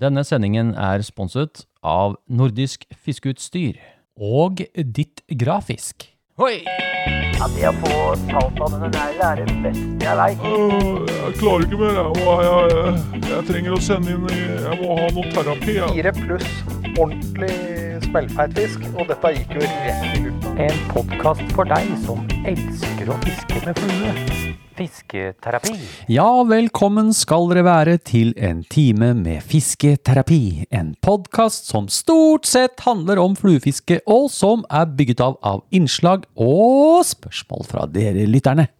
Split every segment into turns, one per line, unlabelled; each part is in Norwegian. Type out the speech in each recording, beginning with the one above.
Denne sendingen er sponset av Nordisk Fiskeutstyr.
Og ditt grafisk.
Hoi!
Ja, det å få talt av denne neglen er det beste jeg veit.
Øh, Jeg klarer ikke mer. Jeg, må, jeg, jeg, jeg trenger å sende inn eh, Jeg må ha noe terapi. Jeg.
Fire pluss ordentlig smellfeit fisk, og dette gikk jo rett i lufta.
En podkast for deg som elsker å fiske med flue. Fisketerapi.
Ja, velkommen skal dere være til en time med fisketerapi. En podkast som stort sett handler om fluefiske, og som er bygget av av innslag og spørsmål fra dere lytterne.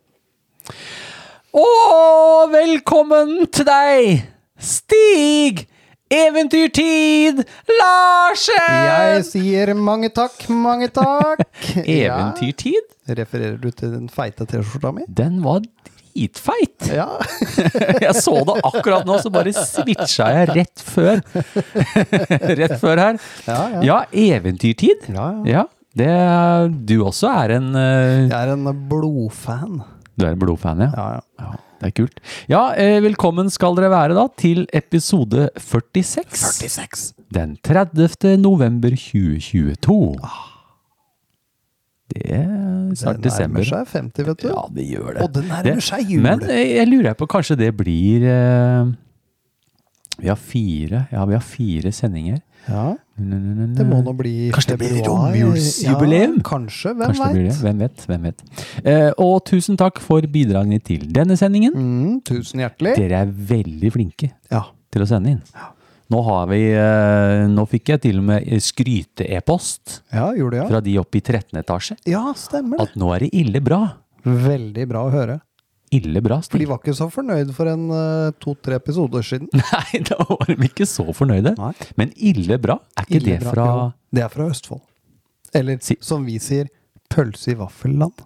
Og velkommen til deg, Stig! Eventyrtid
Jeg
Larsen!
sier mange takk, mange takk.
Eventyrtid?
Ja. Refererer du til den feite T-skjorta mi?
Den var dritfeit!
Ja.
Jeg så det akkurat nå, så bare switcha jeg rett før. rett før her.
Ja, ja.
eventyrtid.
Ja, ja.
det, du også er en eh,
Jeg er en blodfan.
Du er en blodfan, ja.
Ja, ja.
Ja, Det er kult. Ja, eh, velkommen skal dere være da til episode 46. 46. Den 30. november 2022.
Ah.
Det er snart
Det nærmer
desember.
seg 50, vet du.
Ja, det gjør det.
Og det nærmer seg jul.
Men eh, jeg lurer på, kanskje det blir eh, Vi har fire Ja, vi har fire sendinger.
Ja,
Det
Det må nå bli
Kanskje det blir
februar.
romjulsjubileum?
Ja, kanskje, hvem
Kanskje det blir det.
veit.
Hvem vet? Hvem vet. Eh, og tusen takk for bidragene til denne sendingen.
Mm, tusen hjertelig.
Dere er veldig flinke
Ja.
til å sende inn. Nå har vi eh, Nå fikk jeg til og med skryte-e-post
ja, gjorde jeg.
fra de oppe i 13. etasje.
Ja, stemmer det.
At nå er det ille bra.
Veldig bra å høre.
Ille bra,
For de
Stig.
var ikke så fornøyd for en eh, to-tre episoder siden.
Nei, da var de ikke så fornøyde.
Nei.
Men ille bra, er ikke
Ille
det
bra.
fra
Jo, Det er fra Østfold. Eller
Si-
som vi sier, pølse i vaffelland.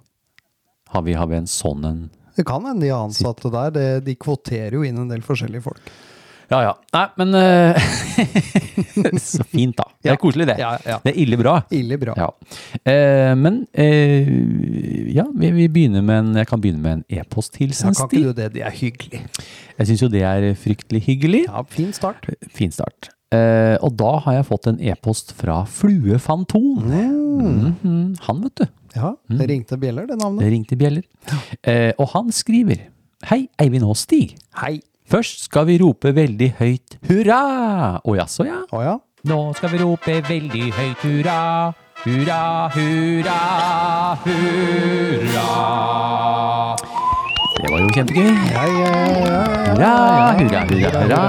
Har vi, har vi en sånn en
Det kan hende de ansatte der, det, de kvoterer jo inn en del forskjellige folk.
Ja ja. Nei, men eh, Så fint, da. Det er
Ja.
koselig, det.
Ja, ja.
Det er ille bra.
Ille bra.
Ja. Eh, men eh, ja, vi, vi begynner med en, jeg kan begynne med en
Ja,
e-posthilsen,
kan
Stig.
ikke du det? Det er hyggelig.
Jeg syns jo det er fryktelig hyggelig.
Ja, Fin start.
Fin start. Eh, og da har jeg fått en e-post fra Fluefanton. Mhm, Han, vet du.
Mm. Ja,
Mm.
Det ringte bjeller, det
Det
navnet.
ringte bjeller. Eh, og han skriver Hei, Eivind og Stig.
Hei.
Først skal vi rope veldig høyt hurra! Å jaså, ja?
Å ja.
Nå skal vi rope veldig høyt hurra, hurra, hurra, hurra. Det var jo kjempegøy.
Hei, ja, ja, ja,
Hurra, hurra, hurra, hurra.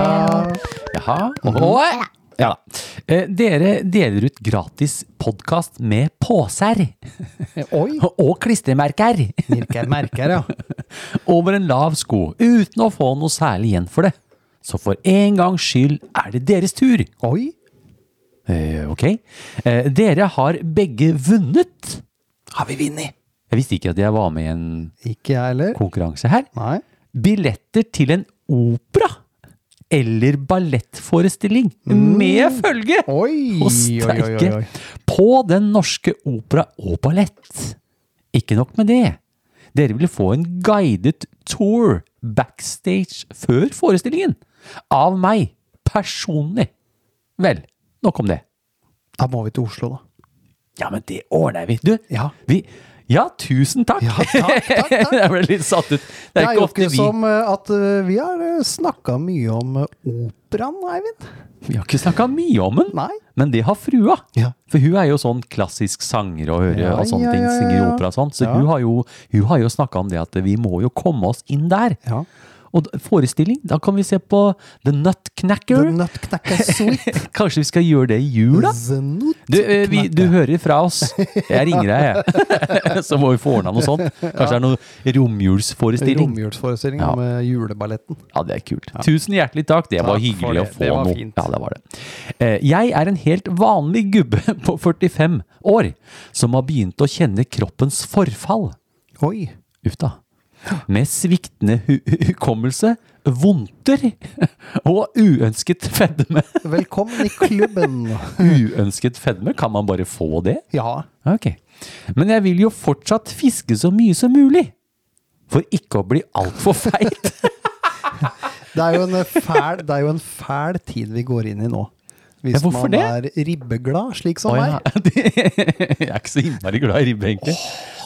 Jaha. Og, og, ja da. Eh, Dere deler ut gratis podkast med poser
ja. Oi.
og klistremerker
Merker, merker, ja.
over en lav sko uten å få noe særlig igjen for det. Så for en gangs skyld er det deres tur.
Oi.
Eh, ok. Eh, dere har begge vunnet.
Har vi vunnet?
Jeg visste ikke at jeg var med i en
Ikke jeg heller.
konkurranse her.
Nei.
Billetter til en opera eller ballettforestilling med følge
Mm. Oi,
og
oi, oi, oi,
streike
oi.
på Den norske opera og ballett. Ikke nok med det. Dere vil få en guidet tour backstage før forestillingen. Av meg personlig. Vel, nok om det.
Da må vi til Oslo, da.
Ja, men det ordner vi. Du,
Ja.
vi Ja, tusen takk!
Ja, takk, takk, takk.
jeg ble litt satt ut. Det
Det
er
er
ikke
jo
ofte
ikke
vi
som eh, at eh, vi har snakka mye om eh, operaen, Eivind.
Vi har ikke snakka mye om den,
Nei.
men det har frua.
Ja.
For hun er jo sånn klassisk sanger og høre
Ja,
og sånne
ja,
ting.
ja, ja,
Synger
ja.
opera og sånn. Så
Ja.
hun har jo, hun har jo snakka om det at vi må jo komme oss inn der.
Ja.
Og d- forestilling, da kan vi se på The Nutcracker.
The Nutcracker Suite.
Kanskje vi skal gjøre det i jula?
The Nut-
Du, eh, vi, du hører fra oss. Jeg ringer deg, jeg. Så må vi få ordna noe sånt. Kanskje det er noe romjulsforestilling.
Romjulsforestilling
Ja.
med juleballetten.
Ja, det er kult. Tusen hjertelig takk. Det var
Takk for
hyggelig å
det.
få
Det var
noe.
fint.
Ja, det var det. Eh, Jeg er en helt vanlig gubbe på 45 år som har begynt å kjenne kroppens forfall.
Oi.
Uff da. Med sviktende hu hu- hukommelse, vondter og uønsket fedme.
Velkommen i klubben.
Uønsket fedme? Kan man bare få det?
Ja.
Ok. Men jeg vil jo fortsatt fiske så mye som mulig. For ikke å bli altfor feit.
Det er jo en eh, fæl, det er jo en fæl tid vi går inn i nå. Hvis
Ja, hvorfor
man er ribbeglad, slik som
Å,
meg.
ja. Jeg er ikke så innmari glad i ribbe, egentlig.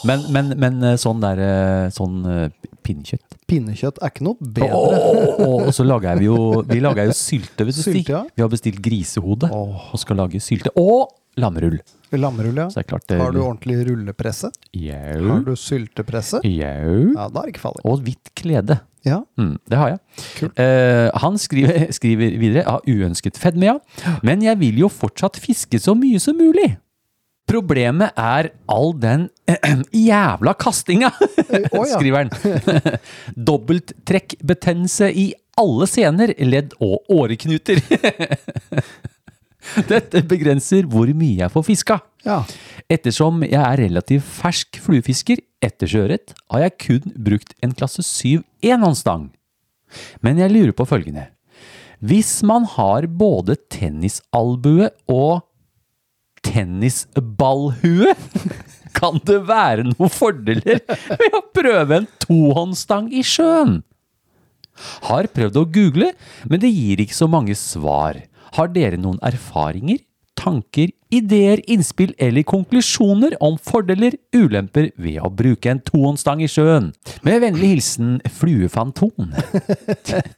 Men, men, men eh, sånn der eh, sånn eh, pinnekjøtt.
Pinnekjøtt er ikke noe
Åh,
bedre.
og så lager vi jo Vi lager jo sylte. Hvis du
Sylte,
stikker.
ja.
Vi har bestilt grisehode og skal lage sylte. Og lammerull.
Lammerull,
Så det
ja.
er klart eh, det
Har du ordentlig rullepresse? Har
Jau.
du syltepresse?
Jau.
Ja, da er det ikke farlig.
Og hvitt klede.
Ja.
Mm, det har jeg. Eh, han skriver, skriver videre Jeg har uønsket fedme, ja. Men jeg vil jo fortsatt fiske så mye som mulig. Problemet er all den jævla kastinga,
å ja.
skriver han. Dobbelttrekkbetennelse i alle sener, ledd og åreknuter. Dette begrenser hvor mye jeg får fiska.
ja.
Ettersom jeg er relativt fersk fluefisker etter sjøørret, har jeg kun brukt en klasse 7 enhåndsstang. Men jeg lurer på følgende. Hvis man har både tennisalbue og tennisballhue, kan det være noen fordeler ved å prøve en tohåndsstang i sjøen? Har prøvd å google, men det gir ikke så mange svar. Har dere noen erfaringer, tanker, ideer, innspill eller konklusjoner om fordeler, ulemper ved å bruke en tohåndsstang i sjøen? Med vennlig hilsen Fluefanton.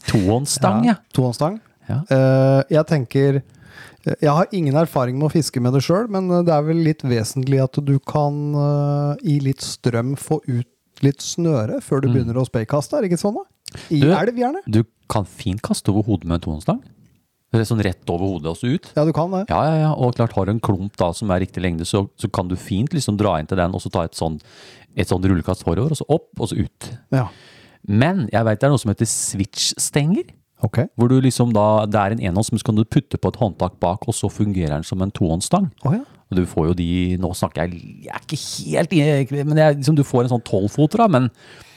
Tohåndsstang, ja.
Tohåndsstang.
Ja.
Eh, jeg tenker eh, Jeg har ingen erfaring med å fiske med det sjøl, men eh, det er vel litt vesentlig at du kan eh, i litt strøm få ut litt snøre før du begynner å speikaste, er det ikke sånn da? I
Mm. Du-
elv, gjerne?
Du kan fint kaste over hodet med en tohåndsstang. Det er Sånn rett over hodet og så ut.
Ja, du kan det.
Ja, ja, ja. Og klart, har du en klump da som er riktig lengde, så, så kan du fint liksom dra inn til den, og så ta et sånn, et sånn rullekast forover, og så opp, og så ut.
Ja.
Men jeg veit det er noe som heter switch-stenger.
Ok.
Hvor du liksom da, Det er en enhånds, men så kan du putte på et håndtak bak, og så fungerer den som en tohåndsstang.
Å ja.
Og du får jo de Nå snakker jeg Jeg er ikke helt i- Men jeg, liksom, du får en sånn tolvfoter, da. Men jeg,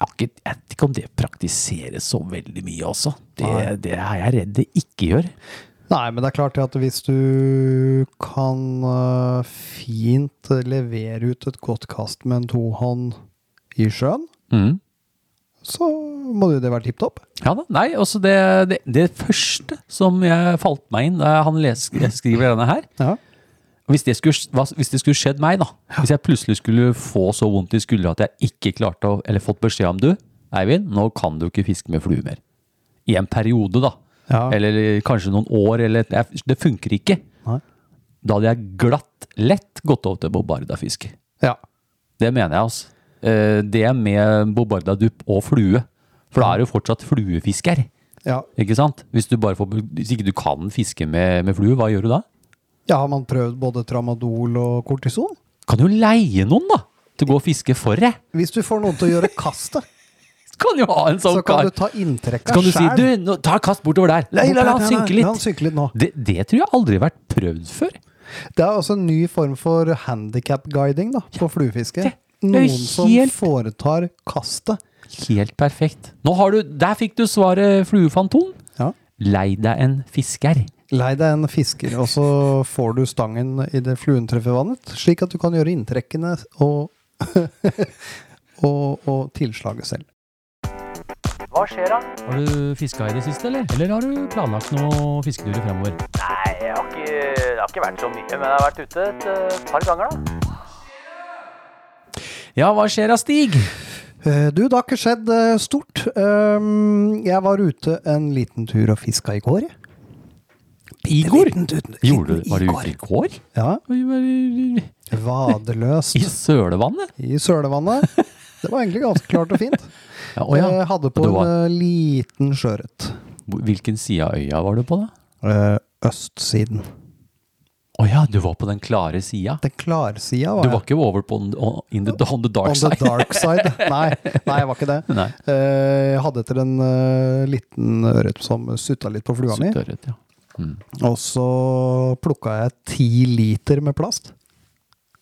har ikke, jeg vet ikke om det praktiseres så veldig mye også. Det, det er jeg redd det ikke gjør.
Nei, men det er klart at hvis du kan eh, fint levere ut et godt kast med en tohånd i sjøen,
Mm.
så må jo det være tipp topp.
Ja da, nei, også det, det, det første som jeg falt meg inn da han les, jeg skriver denne her
Ja.
hvis det, skulle, hva- hvis det skulle skjedd meg, da Hvis jeg plutselig skulle få så vondt i skuldra at jeg ikke klarte å Eller fått beskjed om du, Eivind, nå kan du ikke fiske med flue mer. I en periode, da.
Ja.
Eller kanskje noen år, eller jeg, Det funker ikke.
Nei.
Da hadde jeg glatt lett gått over til bobardafiske.
Ja.
Det mener jeg, altså. Eh, Det med bobardadupp og flue. For da er du fortsatt fluefisker.
ja.
Ikke sant? Hvis, du bare får, hvis ikke du kan fiske med, med flue, hva gjør du da?
Ja, har man prøvd både tramadol og kortison?
Kan du leie noen, da? Til å gå og fiske for deg?
Hvis du får noen til å gjøre kastet,
Kan jo ha en sånn
så kan
kar.
du ta inntrekket
Så kan du si
selv.
du, nå, ta et kast bortover der. La,
Bort
la, la
der,
han
nei, nei,
synke
La han
litt.
synke litt nå.
Det, det tror jeg aldri har vært prøvd før.
Det er også en ny form for handicap-guiding da, på fluefiske.
det er jo
Noen som
helt-
foretar kastet.
Helt perfekt. Nå har du, Der fikk du svaret, fluefanton.
Ja.
Lei deg en fisker.
Lei deg en fisker, og så får du stangen i det fluen treffer vannet, slik at du kan gjøre inntrekkene og, og, og tilslaget selv.
Hva skjer da?
Har du fiska i det siste, eller? Eller har du planlagt noen fisketurer fremover?
Nei, jeg har ikke, det har ikke vært så mye, men jeg har vært ute et eh, par ganger da.
Ja, hva skjer da, Stig?
Eh, Du, det har ikke skjedd eh, stort. Ehm, Jeg var ute en liten tur og fiska i går. jeg.
Igor?
Liten tur- liten
Gjorde du, Var du ute i
går.
går?
Ja.
Oi, var-
Vadeløst
I sølevannet?
i sølevannet. Det var egentlig ganske klart og fint.
Ja, å ja.
Jeg hadde
Og
på
det var-
en eh, liten sjøørret.
Hvilken side av øya var du på, da?
Eh, Østsiden.
Å ja, du var på den klare sida.
Den klarsida var
Du var
jeg.
ikke over på on, on, in the, on the dark
On the
side.
dark side. Nei, nei, jeg var ikke det.
Nei.
Eh, Jeg hadde etter en eh, liten ørret som sutta litt på flua mi.
Størret, ja.
Og så plukka jeg ti liter med plast.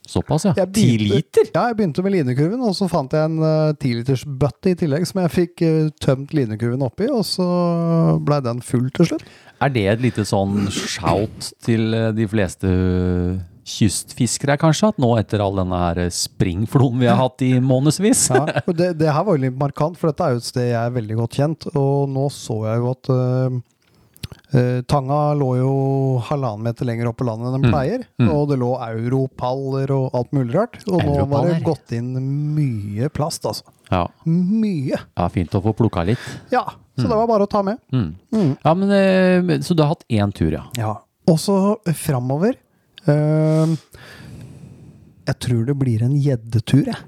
Såpass, ja.
Jeg
Ti
begynte-
liter?
Ja, jeg begynte med linekurven, og så fant jeg en eh, 10-litersbøtte i tillegg som jeg fikk eh, tømt linekurven oppi, og så blei den full til slutt.
Er det et lite sånn shout til eh, de fleste kystfiskere kanskje hatt nå etter all denne her eh, springfloen vi har hatt i månedsvis.
Ja, og det, det her var jo litt markant, for dette er jo et sted jeg er veldig godt kjent. Og nå så jeg jo at eh, eh, tanga lå jo halvannen meter lenger opp på landet
Mm.
enn den pleier. Og det lå europaller og alt mulig rart. Og nå var
Europaller?
det gått inn mye plast, altså.
Ja,
Mye.
ja fint å få plukka litt.
Ja,
Mm.
så det var bare å ta med.
Ja, men, eh, så du har hatt én tur, ja.
Ja. Og så framover eh, Jeg tror det blir en gjeddetur, jeg.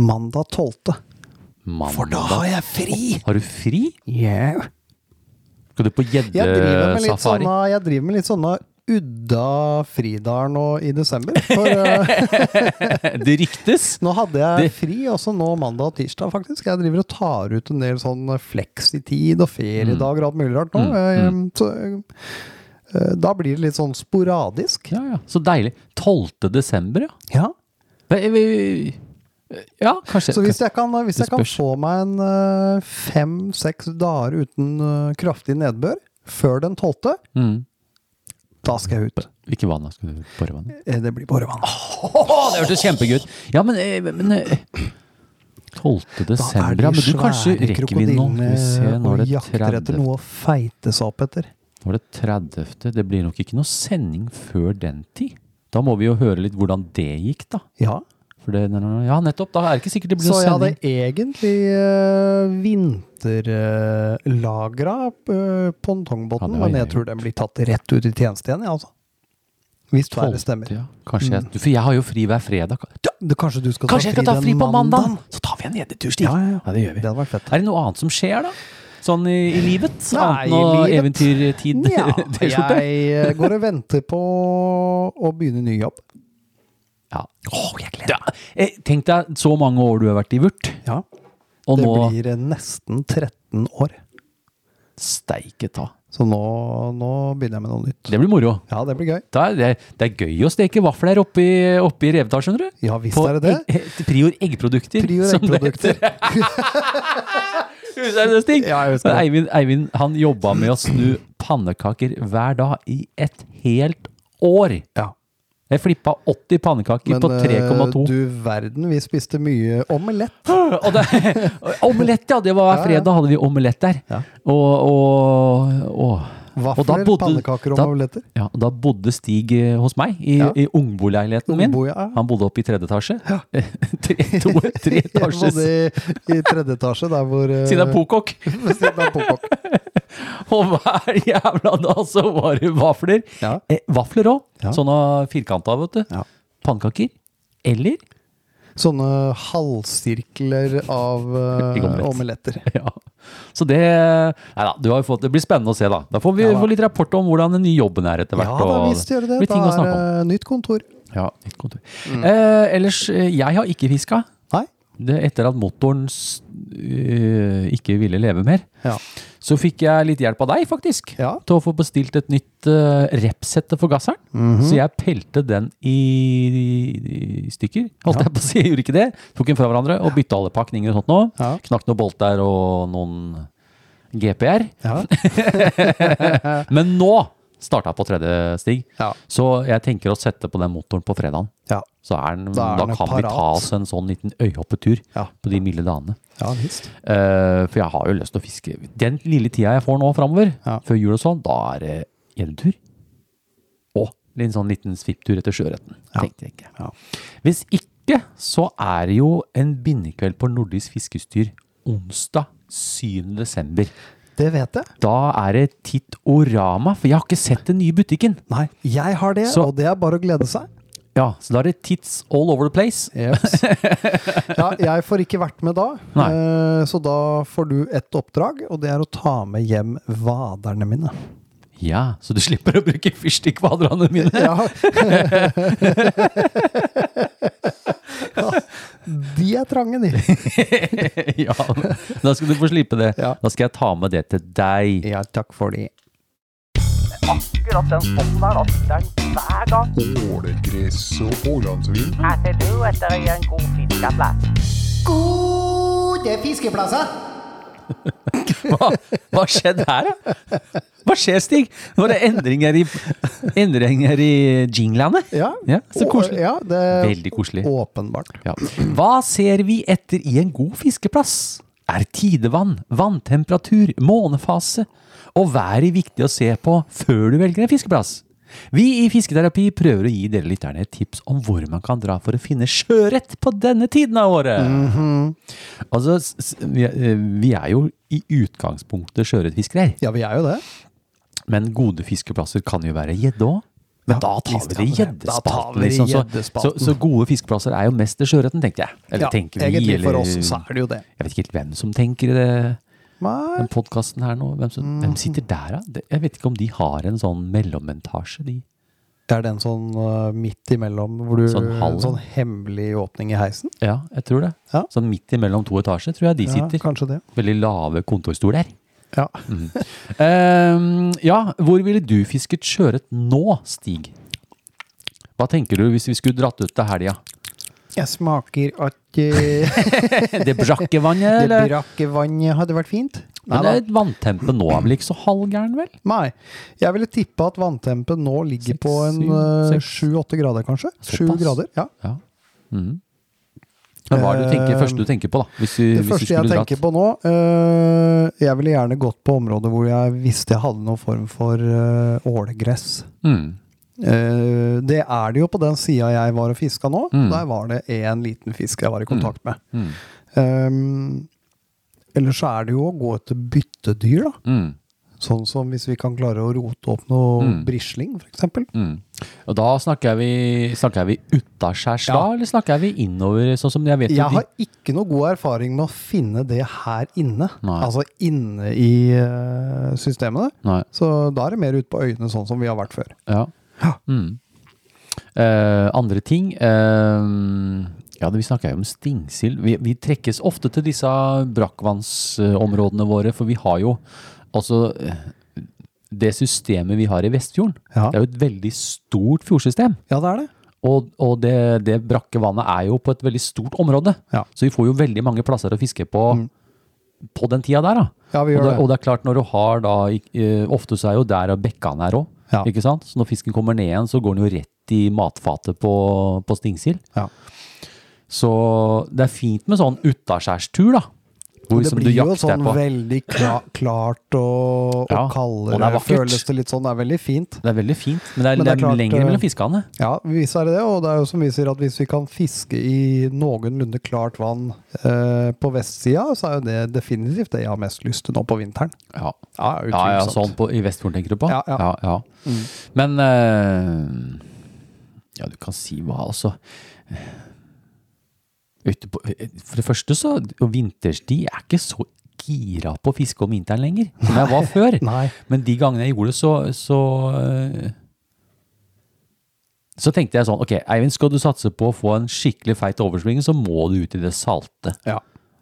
Mandag 12.
Mandag.
For da har jeg fri!
Har du fri?
Yeah.
Skal du på
Jeg
Eh,
driver med litt sånn
gjeddesafari?
sånne, jeg driver med litt sånne Udda fridager nå i desember. For eh,
Det ryktes!
nå hadde
Det-
jeg fri også nå mandag og tirsdag, faktisk. Jeg driver og tar ut en del sånn fleksitid og feriedager og alt mulig rart nå. Eh, Så, eh, da blir det litt sånn sporadisk.
Ja, ja. Så deilig. 12. desember, ja.
Ja.
Ve- vi- Ja, kanskje.
Så hvis jeg kan, eh, hvis
Det
jeg kan
spørs.
få meg en fem-seks dager uten eh, kraftig nedbør før den tolvte,
Mm.
da skal jeg ut.
Hvilke vann da? skal du bore vann i?
Eh, Det blir borevann.
Å, det hørtes kjempegøy ut! Ja, men, eh, men eh, 12.
Da er
desember,
de
ja. Men du kanskje
svære
rekker vi nå? Skal vi se,
krokodillene
nå er
og
det
jakter etter
30.
noe å feite seg opp etter.
Nå er det 30. Det blir nok ikke noe sending før den tid. Da må vi jo høre litt hvordan det gikk, da.
Ja.
For det, ja, nettopp. Da er det ikke sikkert det blir noe
Så jeg hadde
sending.
egentlig uh, vinterlagra
Ja,
pongtongbåten,
det har
men
jeg
jeg tror den blir tatt rett ut i tjeneste igjen, jeg, altså. Hvis været stemmer. Mm.
Ja, kanskje jeg, for jeg har jo fri hver fredag.
Du, du, kanskje du skal
Kanskje jeg skal ta
den
fri på mandag? Så tar vi en gjedetur, Stig.
Ja, ja, ja.
det gjør vi.
Det hadde vært fett.
Er det noe annet som skjer, da? Sånn i, i livet?
Nei,
Annet enn
i
å
livet?
eventyrtid?
Ja,
T-skjorte?
jeg eh, går og venter på å begynne ny jobb.
Ja. Ja, eh, Tenk deg så mange år du har vært i Vurt,
Ja.
og
Det
nå
blir eh, nesten 13 år.
steike ta.
Så nå, nå begynner jeg med noe nytt.
Det blir moro.
Ja, det blir gøy.
Da er det, det er gøy å steke vafler oppi, oppi Revetar, skjønner du.
Ja, visst
På
er det det.
egg- eh, prior eggprodukter.
Prior
som det
eggprodukter.
heter. Husker du det, Stig?
Ja, jeg husker det.
Eivind, Eivind han jobba med å snu pannekaker hver dag i et helt år.
Ja.
Jeg flippa 80 pannekaker på
eh,
3,2.
du verden, vi spiste mye omelett.
Og det, omelett, ja! Det var hver
Ja, ja.
fredag hadde vi omelett der.
Ja.
Og, og, og, og da
Vafler,
bodde-
pannekaker og
da-
omeletter.
Ja, og da bodde Stig eh, hos meg i,
Ja.
i ungboleiligheten min.
Ungbo, ja.
Han bodde oppe i tredje etasje. tre, to, tre
Jeg
etasjes.
bodde i, i tredje etasje, der hvor eh,
Siden det er pokok.
ved siden av Popok.
Og hver jævla dag så var det vafler.
Ja.
Eh, vafler òg.
Ja.
Sånne firkanta, vet du.
Ja.
Pannekaker. Eller
Sånne halvsirkler av eh,
Ikke omelett.
omeletter.
Ja. Så det Nei da, du har jo fått, det blir spennende å se, da. Da får vi
Ja da.
få litt rapport om hvordan den nye jobben er etter
Ja,
hvert.
da
og
visst gjør det det.
blir ting
Da
å
er
snakke om.
det Mm. nytt kontor.
Ja, litt kontor. Eh, ellers, eh, jeg har ikke fiska.
Nei?
Det, etter at motoren s- øh, ikke ville leve mer,
Ja.
så fikk jeg litt hjelp av deg, faktisk.
Ja.
Til å få bestilt et nytt uh, repsette for gasseren.
Mhm.
Så jeg pelte den i, i, i stykker. Holdt jeg på å si, jeg gjorde ikke det. Tok den fra hverandre og bytta alle pakninger og sånt nå.
Ja.
Knakk noen bolter og noen GPR.
Ja.
Men nå starta jeg på tredje stig.
Ja.
Så jeg tenker å sette på den motoren på fredagen.
ja.
Så er den,
Da
da,
er den
kan vi
parat.
ta oss en sånn liten øyhoppetur
Ja.
på de milde dagene.
Ja visst.
Eh, for jeg har jo lyst til å fiske. Den lille tida jeg får nå framover,
Ja.
før jul og sånn, da er det gjeddetur. Og en sånn liten svipptur etter sjøørreten. tenkte jeg ikke.
Ja.
Hvis ikke, så er det jo en bindekveld på Nordisk Fiskestyr onsdag 7. desember.
Det vet jeg.
Da er det Tittorama, for jeg har ikke sett den nye butikken.
Nei, jeg har det,
Så-
og det er bare å glede seg.
Ja, Så da er det Tits all over the place.
Jeps. Ja, jeg får ikke vært med da,
Nei.
eh, så da får du et oppdrag, og det er å ta med hjem vaderne mine.
Ja, så du slipper å bruke fyrstikkvadrene mine?
Ja. De er trange, de.
ja, da skal du få slippe det.
Ja.
Da skal jeg ta med det til deg.
Ja, takk for de.
Akkurat den spotten der, altså. da sitter den hver gang.
Ålegress og pålandsvin.
Jeg ser du etter å gjøre en god fiskeplass.
Gode fiskeplasser!
Hva, hva skjedde her, da? Hva skjer, Stig? Nå er det endringer i, endringer i jinglene.
Ja,
så
og-
koselig.
Ja, det,
Veldig koselig.
åpenbart.
Ja. Hva ser vi etter i en god fiskeplass? Er tidevann, vanntemperatur, månefase og været viktig å se på før du velger en fiskeplass? Vi i Fisketerapi prøver å gi dere lytterne et tips om hvor man kan dra for å finne sjøørret på denne tiden av året. Altså, s- s- vi er- eh, vi er jo i utgangspunktet sjøørretfiskere,
Ja, vi er jo det.
men gode fiskeplasser kan jo være gjedde òg. Men da tar vi det i
visst kan det. Da tar
gjeddespalten.
vi det i
Liksom. Så, så,
gjeddespalten.
så gode fiskeplasser er jo mest til sjøørreten, tenkte jeg. Eller
ja,
tenker vi,
egentlig
eller
for oss så er det jo det.
Jeg vet ikke helt hvem som tenker i det,
Nei, Mm.
den podkasten her nå. Hvem, som, hvem sitter der, da? Det- Jeg vet ikke om de har en sånn mellommentasje, de.
det er den sånn øh, midt imellom hvor du
Sånn halv.
Sånn hemmelig åpning i heisen.
Ja, jeg tror det.
Ja.
Sånn midt imellom to etasjer tror jeg de
Ja,
sitter.
kanskje det.
Veldig lave kontorstoler.
Ja.
Ehm, ja, hvor ville du fisket sjøørret nå, Stig? Hva tenker du hvis vi skulle dratt ut til helga?
Jeg smaker at øh,
Det brakke vannet,
det
eller?
brakke vannet hadde vært fint.
Men
Neida.
det er vanntempe nå er vel ikke så halvgæren, vel?
Nei. Jeg ville tippe at vanntempen nå ligger
Seks,
på en
syv,
øh,
seks.
sju-åtte grader, kanskje. Sju
Såpass.
grader, ja. Mm.
Ja. Mhm. Men hva er det du tenker,
Eh,
første du tenker på, da? Hvis du,
Det
Eh, hvis du
første jeg
skulle dratt?
tenker på nå øh, Jeg ville gjerne gått på områder hvor jeg visste jeg hadde noen form for øh, ålegress.
Mhm.
Eh, det er det jo på den sida jeg var og fiska nå.
Mm.
Der var det én liten fisk jeg var i kontakt med.
Mm.
Um, ellers så er det jo å gå etter byttedyr, da.
Mm.
Sånn som hvis vi kan klare å rote opp noe
Mm.
brisling, f.eks.
Mm. Og da snakker vi, snakker vi utaskjærs da,
Ja.
eller snakker vi innover, sånn som jeg vet jo
Jeg
de-
har ikke noe god erfaring med å finne det her inne.
Nei.
Altså inne i eh, systemene.
Nei,
Så da er det mer ute på øyene, sånn som vi har vært før.
ja.
Ja.
Mm. Eh, andre ting eh, Ja, det- vi snakker jo om stingsild. Vi, vi trekkes ofte til disse brakkvannsområdene våre, for vi har jo altså eh, det systemet vi har i Vestfjorden,
Ja.
det er jo et veldig stort fjordsystem.
Ja, det er det.
Og, og det, det brakke vannet er jo på et veldig stort område.
Ja. Mm.
Så vi får jo veldig mange plasser å fiske på på den tida der. da.
Ja,
og,
vi gjør
det,
det.
og det er klart, når du har da ikk- eh, Ofte så er jo der bekkene er òg.
Ja.
Ikke sant? Så når fisken kommer ned igjen, så går den jo rett i matfatet på, på stingsild.
Ja.
Så det er fint med sånn utaskjærstur, da. Hvor
det
liksom du
blir jo
jakter
sånn
på.
veldig kla klart og, og
Ja,
kaldere.
og det er vakkert.
Føles det litt sånn. Det er veldig fint.
Det er veldig fint, men det er, det
Men det
er,
er klart,
lenger
eh,
mellom fiskene.
Ja, visst er det det. Og det er jo som vi sier at hvis vi kan fiske i noenlunde klart vann eh, på vestsida, så er jo det definitivt det jeg har mest lyst til nå på vinteren.
Ja.
Ja,
Ja, ja,
utvilsomt.
sånn på, i Vestfjorden tenker du på?
Ja, Mm. ja.
ja. Men eh, Ja, du kan si hva, altså. Ute på, eh, for det første så, og vinterstid, jeg er ikke så gira på å fiske om vinteren lenger, som jeg var før.
Nei.
Men de gangene jeg gjorde det, så, så eh, så tenkte jeg sånn, ok, Eivind, skal du satse på å få en skikkelig feit oversving, så må du ut i det salte.
Ja.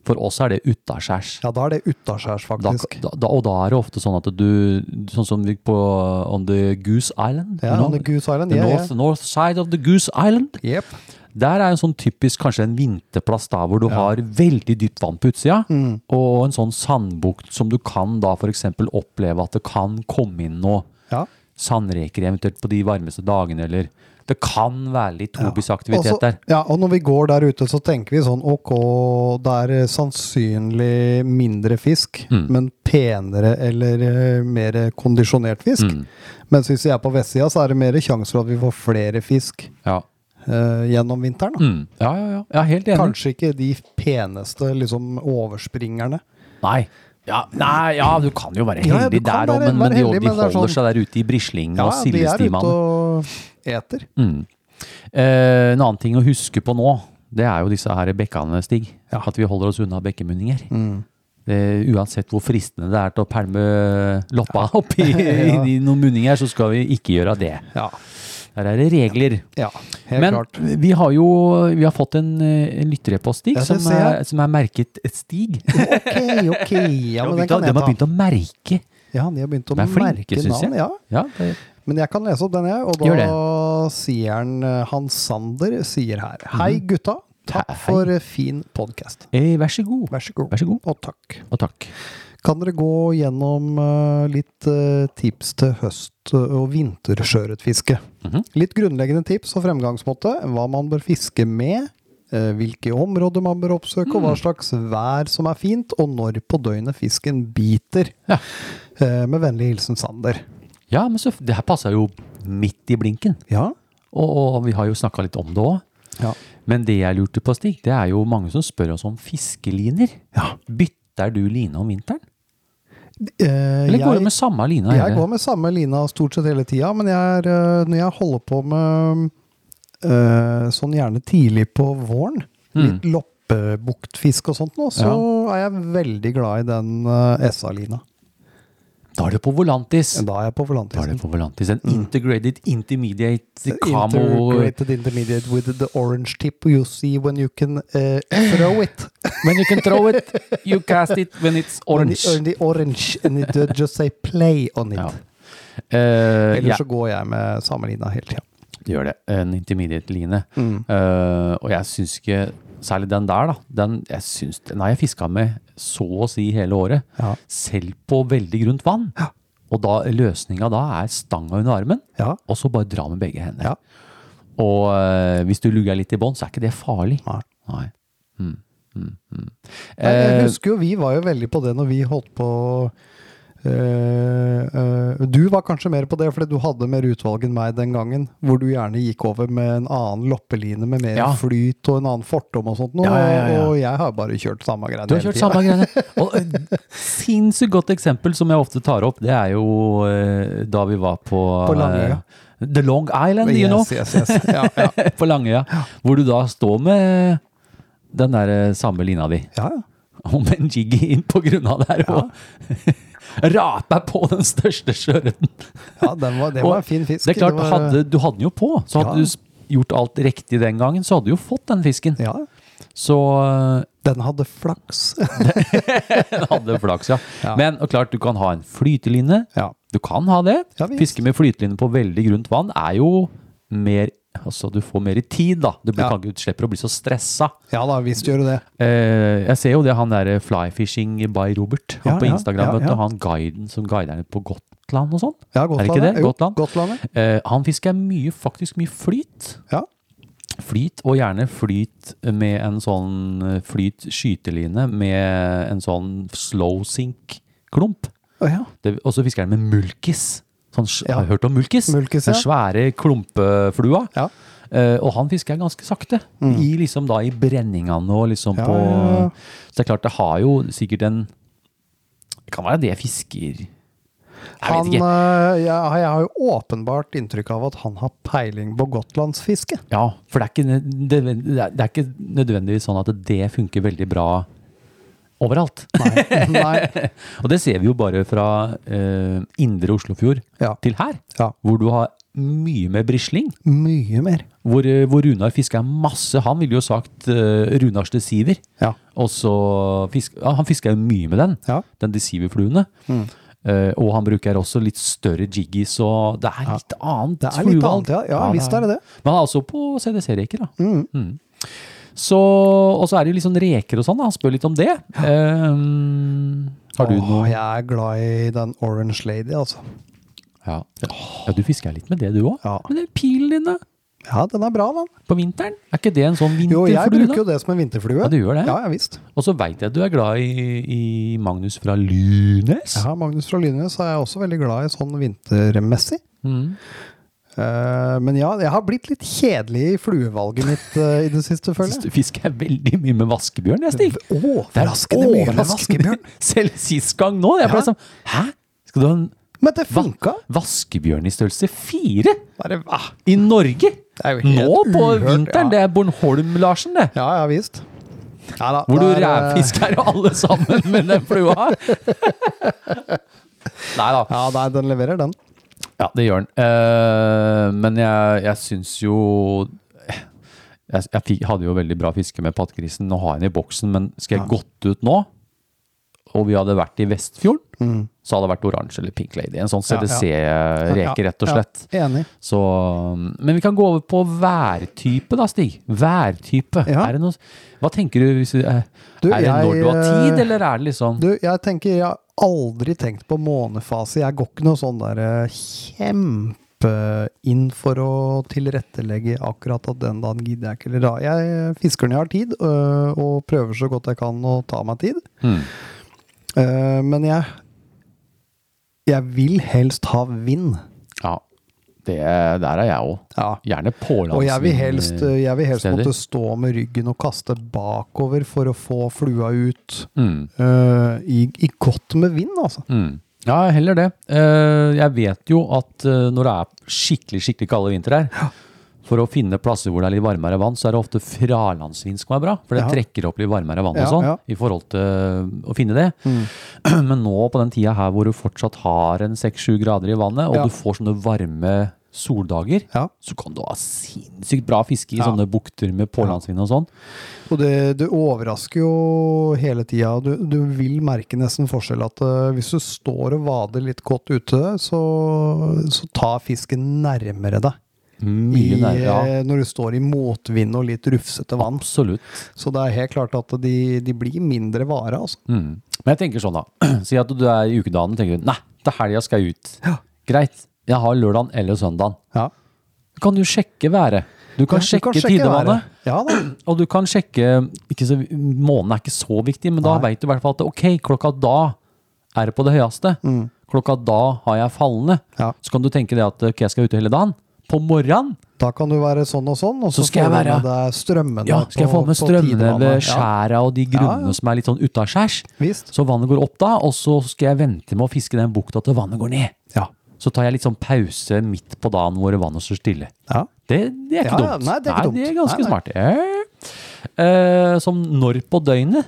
For oss er det utaskjærs.
ja, da er det utaskjærs,
Da,
faktisk.
da, da- og da er det ofte sånn at du Sånn som vi på eh, On the Goose Island.
Ja,
you know?
on the Goose Island,
The
ja, ja.
north, north side of the Goose Island.
Jepp.
Der er en sånn typisk kanskje en vinterplass da hvor du har veldig dypt vann på utsida.
Mm.
Og en sånn sandbukt som du kan da f.eks. oppleve at det kan komme inn noe
Ja.
sandreker eventuelt på de varmeste dagene, eller Det kan være litt tobisaktivitet
Og så-
der.
Ja, og når vi går der ute, så tenker vi sånn ok, det er eh, sannsynlig mindre fisk,
Mm.
men penere eller eh, mer kondisjonert fisk.
Mm.
Mens hvis vi er på vestsida, så er det mer sjanse for at vi får flere fisk
Ja.
eh, gjennom vinteren. Da.
Mm. ja, ja, ja. Jeg er helt enig.
Kanskje ikke de peneste liksom, overspringerne.
Nei. Ja, nei, ja, du kan jo være
Ja, ja,
heldig
du kan
der òg,
være-
men, men
være
de,
heldig,
de
men det er
holder
sånn-
seg der ute i brisling og
Ja, de er ute
sildestimene.
og eter.
Mm. Eh, en annen ting å huske på nå, det er jo disse her bekkene, Stig. At vi holder oss unna bekkemunninger.
Mm.
Eh, uansett hvor fristende det er til å pælme loppa opp i,
Ja.
i noen munninger, så skal vi ikke gjøre det.
Ja,
Der er det regler.
ja helt
Men
klart.
vi har jo vi har fått en, eh, en lytter på Stig
Ja, det
som,
ser jeg.
er, som er merket Stig.
Ok, ok. Ja, men den kan
de har
jeg ta.
begynt å merke.
Ja, de har begynt å
De er flinke,
merke
syns jeg.
navn. Ja.
Ja, det,
Men jeg kan lese opp den, jeg. Og
Gjør
da sier han eh, Hans Sander sier her. Hei, gutta.
Mhm.
Takk
Hei.
for eh, fin podkast.
Eh, vær så god.
Vær så god.
Vær så god.
Og takk.
Og takk.
Kan dere gå gjennom eh, litt eh, tips til høst- eh, og vintersjøørretfiske?
Mhm.
Litt grunnleggende tips og fremgangsmåte. Hva man bør fiske med, eh, hvilke områder man bør oppsøke, og hva
Mm.
slags vær som er fint, og når på døgnet fisken biter.
Ja.
Eh, Med vennlig hilsen Sander.
Ja, men så, det her passer jo midt i blinken.
Ja.
Og, og vi har jo snakka litt om det òg.
Ja.
Men det jeg lurte på, Stig, det er jo mange som spør oss om fiskeliner.
Ja.
Bytter du line om vinteren?
Eh,
Eller går
jeg-
du med samme lina?
Jeg går med samme lina stort sett hele tida, men jeg er, øh, når jeg holder på med øh, sånn gjerne tidlig på våren,
Mm.
litt loppebuktfisk og sånt nå, så er jeg veldig glad i den øh, SA-lina.
Da er det på Volantis. Mm.
Da er jeg på
Da er det
Volantisen.
på Volantis. En integrated intermediate camo
Integrated intermediate with the orange tip you see when you can eh, throw it.
When you can throw it, you cast it when it's orange.
On the, on the orange, and it uh, just say play on it.
Ja. Eh,
Ellers
ja,
så går jeg med samme lina hele tida.
det gjør det. eh, En intermediate-line.
Mm.
og jeg syns ikke Særlig den der, da. Den, jeg syns, den har jeg fiska med så å si hele året.
Ja.
Selv på veldig grunt vann. Og da, løsninga da er stanga under armen,
Ja.
og så bare dra med begge hender.
Ja.
Og eh, hvis du lugger litt i bånn, så er ikke det farlig.
Nei.
Nei. Mm, mm, mm.
Nei, jeg
Eh,
husker jo vi var jo veldig på det når vi holdt på eh, eh, Du var kanskje mer på det, fordi du hadde mer utvalg enn meg den gangen. Hvor du gjerne gikk over med en annen loppeline med mer
Ja.
flyt og en annen fortom og sånt. Noe,
Ja, ja, ja, ja.
Og jeg har bare kjørt samme greia
Du har kjørt samme greiene. Og et sinnssykt godt eksempel som jeg ofte tar opp, det er jo eh, da vi var på,
På Langøya.
eh, The Long Island, you know.
Yes, yes, yes. Ja, ja.
på Langøya. Hvor du da står med den der eh, samme lina di.
ja.
Og med en jiggy inn på grunna der og raper på den største sjøørreten.
ja den var, det
Og
var en fin fisk.
Det er klart,
var,
hadde, du hadde den jo på. Så hadde
Ja.
du s- gjort alt riktig den gangen, så hadde du jo fått den fisken.
ja,
Så eh,
den hadde flaks.
Den hadde flaks, ja.
Ja.
Men og klart, du kan ha en flyteline.
Ja.
Du kan ha det.
Ja, visst.
Fiske med flyteline på veldig grunt vann er jo mer Altså, du får mer i tid, da. Du blir,
Ja.
kan ikke- du slipper å bli så stressa.
Ja da, visst gjør du det.
Eh, jeg ser jo det han derre Flyfishing by Robert han
Ja,
på
ja,
Instagram.
ja,
vet du,
ja.
Han guiden som guider ned på Gotland og sånn.
Ja,
Er det ikke
Gotlandet.
det?
Jo,
Gotland.
Gotlandet.
Eh, han fisker mye, faktisk mye flyt.
Ja.
Flyt, og gjerne flyt med en sånn eh, flyt skyteline med en sånn slow sink-klump.
Å, ja.
Det- Og så fisker han med mulkis. Sånn, sj-
Ja.
Har du hørt om mulkis?
Mulkis,
Den
ja.
svære klumpeflua.
Ja. Mm.
Eh, og han fisker ganske sakte. I, liksom da, I brenningene og liksom
Ja,
på
ja, ja.
Så det er klart, det har jo sikkert en Det kan være det fisker Jeg
Han,
vet ikke.
øh, jeg, jeg har jo åpenbart inntrykk av at han har peiling på gotlandsfiske.
Ja, for det er, ikke, nød- det, det er- det er ikke nødvendigvis sånn at det funker veldig bra overalt.
Nei. Nei.
og det ser vi jo bare fra eh, indre Oslofjord
Ja.
til her,
Ja.
hvor du har mye mer brisling.
Mye mer.
Hvor, eh, hvor Runar fisker masse. Han ville jo sagt eh, Runars desiver.
Ja.
Og så fisk, ja, han fisker jo mye med den,
Ja. Mm.
den desiverfluene. Eh, og han bruker også litt større jiggies, og det er litt annet.
Det er litt
fluevalg.
annet, ja. Ja, visst er det det.
Men han er også på CDC-reker, da. Mm. Så, og så er det jo litt sånn reker og sånn, da. han spør litt om det. Eh, har du
Åh,
noe
Jeg er glad i den Orange Lady, altså.
ja. ja, du fisker litt med det du òg.
Ja.
Men det er pilene dine
Ja, den er bra, da.
på vinteren, er ikke det en sånn
Jo,
vinterflue?
jeg
da?
bruker jo det som en vinterflue.
Ja, du gjør det.
Ja, ja visst.
Og så veit jeg at du er glad i, i Magnus fra Lunes.
Ja, Magnus fra Lynnes er jeg også veldig glad i sånn vintermessig.
Mm.
Eh, men ja, jeg har blitt litt kjedelig i fluevalget mitt eh, i det siste, føler
Syns
jeg.
du fisker jeg veldig mye med vaskebjørn, jeg, Stig. Det er
Overraskende mye med
overraskende mye.
vaskebjørn.
Selv sist gang nå. Jeg ble
Ja.
sånn Hæ? Skal du ha en
Men det
va
funka!
vaskebjørn i størrelse fire?
Bare, ah,
I Norge?
er jo helt
Nå på
uhørt,
vinteren?
ja.
Det er Bornholm-Larsen, det.
Ja, ja visst. Ja, da,
Hvor du
det er, eh,
rævfisker alle sammen med den flua. Nei da.
Ja, nei, den leverer den.
Ja, det gjør den. Eh, men jeg, jeg syns jo eh, Jeg, jeg fikk, hadde jo veldig bra fiske med pattegrisen. Nå har jeg den i boksen, men skal jeg gått ut nå, og vi hadde vært i Vestfjorden, så hadde det vært oransje eller pink lady. En sånn
Mm. Ja, ja. Ja,
CDC-reke, rett og slett.
Ja, enig.
Så, mm, men vi kan gå over på værtype da, Stig. Værtype.
Ja.
Er det noe, hva tenker du? Hvis, du- eh,
Du,
er det når
jeg,
du har tid,
eh,
eller er det liksom
Du, jeg tenker jeg aldri tenkt på månefase. Jeg går ikke noe sånn der eh, kjempe inn for å tilrettelegge akkurat at den dagen gidder jeg ikke. Eller da. Jeg fisker når jeg har tid, øh, og prøver så godt jeg kan å ta meg tid.
Hmm.
Eh, Men jeg, jeg vil helst ha vind.
Ja. Det, der er jeg òg.
Ja.
Gjerne eh, pålandsvind.
Og jeg vil helst, eh, jeg vil helst
steder.
måtte stå med ryggen og kaste bakover for å få flua ut.
Mm.
eh, i, I godt med vind, altså.
Mm. Ja, heller det. Eh, Jeg vet jo at eh, når det er skikkelig, skikkelig kalde vintre her, for å finne plasser hvor det er litt varmere vann, så er det ofte fralandsvind som er bra. For det
Ja.
trekker opp litt varmere vann
Ja,
og sånn,
ja. Mm.
i forhold til eh, å finne det. Men nå på den tida her hvor du fortsatt har en 6-7 grader i vannet, og
Ja.
du får sånne varme soldager,
Ja.
så kan du ha sinnssykt bra fiske i
Ja.
sånne bukter med pålandsvind og sånn.
Og det, det overrasker jo hele tida. Du, du vil merke nesten forskjell at eh, hvis du står og vader litt godt ute, så, så tar fisken nærmere deg. I,
Mm, Mye nærmere. Ja,
eh, Når du står i motvind og litt rufsete vann.
absolutt.
Så det er helt klart at de, de blir mindre vare, altså.
Mm. Men jeg tenker sånn da, si at du er i ukedagen og tenker, du, nei, til helga skal jeg ut. Greit, jeg har lørdagen eller søndagen.
Ja.
Du kan jo sjekke været. Du kan
Ja, du
sjekke
kan sjekke
tidevannet.
været. Ja da.
Og du kan sjekke, ikke så, månen er ikke så viktig, men da vet du i hvert fall at ok, klokka da er det på det høyeste. Klokka da har jeg fallende.
Mm. Ja.
Så kan du tenke det at ok, jeg skal ut hele dagen. På morgenen,
Da kan du være sånn og sånn, og så,
Så skal jeg
får du
være-
med deg strømmene.
ja, skal jeg få
på-
med
på
strømmene
tidevannet.
ved
Ja,
skjæra og de
Ja, ja.
grunnene som er litt sånn utaskjærs.
visst.
Så vannet går opp da, og så skal jeg vente med å fiske den bukta til vannet går ned.
Ja.
Så tar jeg litt sånn pause midt på dagen hvor vannet står stille.
Ja.
Det, det er ikke
Ja, ja.
dumt.
Nei, det er ikke dumt.
det er ganske
Nei, nei.
smart. Ja. Eh, som når på døgnet,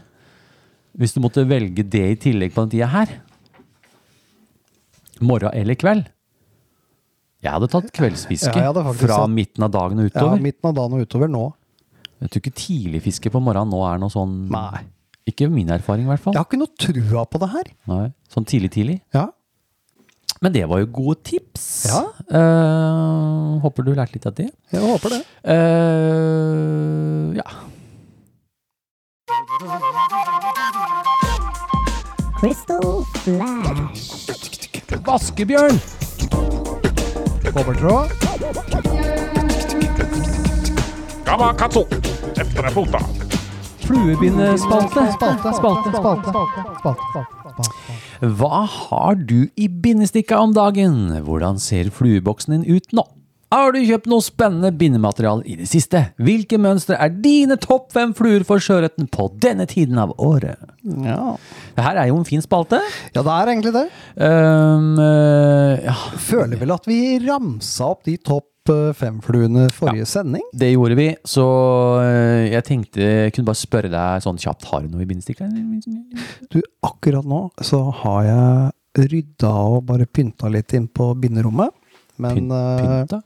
hvis du måtte velge det i tillegg på den tida her, morgen eller kveld. Jeg hadde tatt kveldsfiske
Ja, jeg hadde faktisk
fra
tatt-
midten av dagen og
ja,
utover.
midten av dagen og utover nå.
Jeg tror ikke tidligfiske på morgenen nå er noe sånn
Nei.
Ikke min erfaring, i hvert fall.
Jeg har ikke noe trua på det her.
Nei. Sånn tidlig-tidlig.
Ja.
Men det var jo gode tips.
Ja.
Eh, håper du lærte litt av det.
Jeg håper det.
Eh, ja.
Crystal Flash.
Vaskebjørn!
Kobbertråd.
Gamakatsu! Efter en fota.
Fluebindespalte.
Spalte, spalte, spalte.
Hva har du i bindestikka om dagen? Hvordan ser flueboksen din ut nå? Har du kjøpt noe spennende bindemateriale i det siste? Hvilke mønstre er dine topp fem fluer for sjøørreten på denne tiden av året?
Ja.
Det her er jo en fin spalte.
ja, det er egentlig det.
Um, eh, ja,
Føler vel at vi ramsa opp de topp eh, fem-fluene forrige sending.
Det gjorde vi, så eh, jeg tenkte jeg kunne bare spørre deg sånn kjapt, har du noe i bindestikka?
Du, akkurat nå så har jeg rydda og bare pynta litt inn på binderommet. Men eh,
Pynta?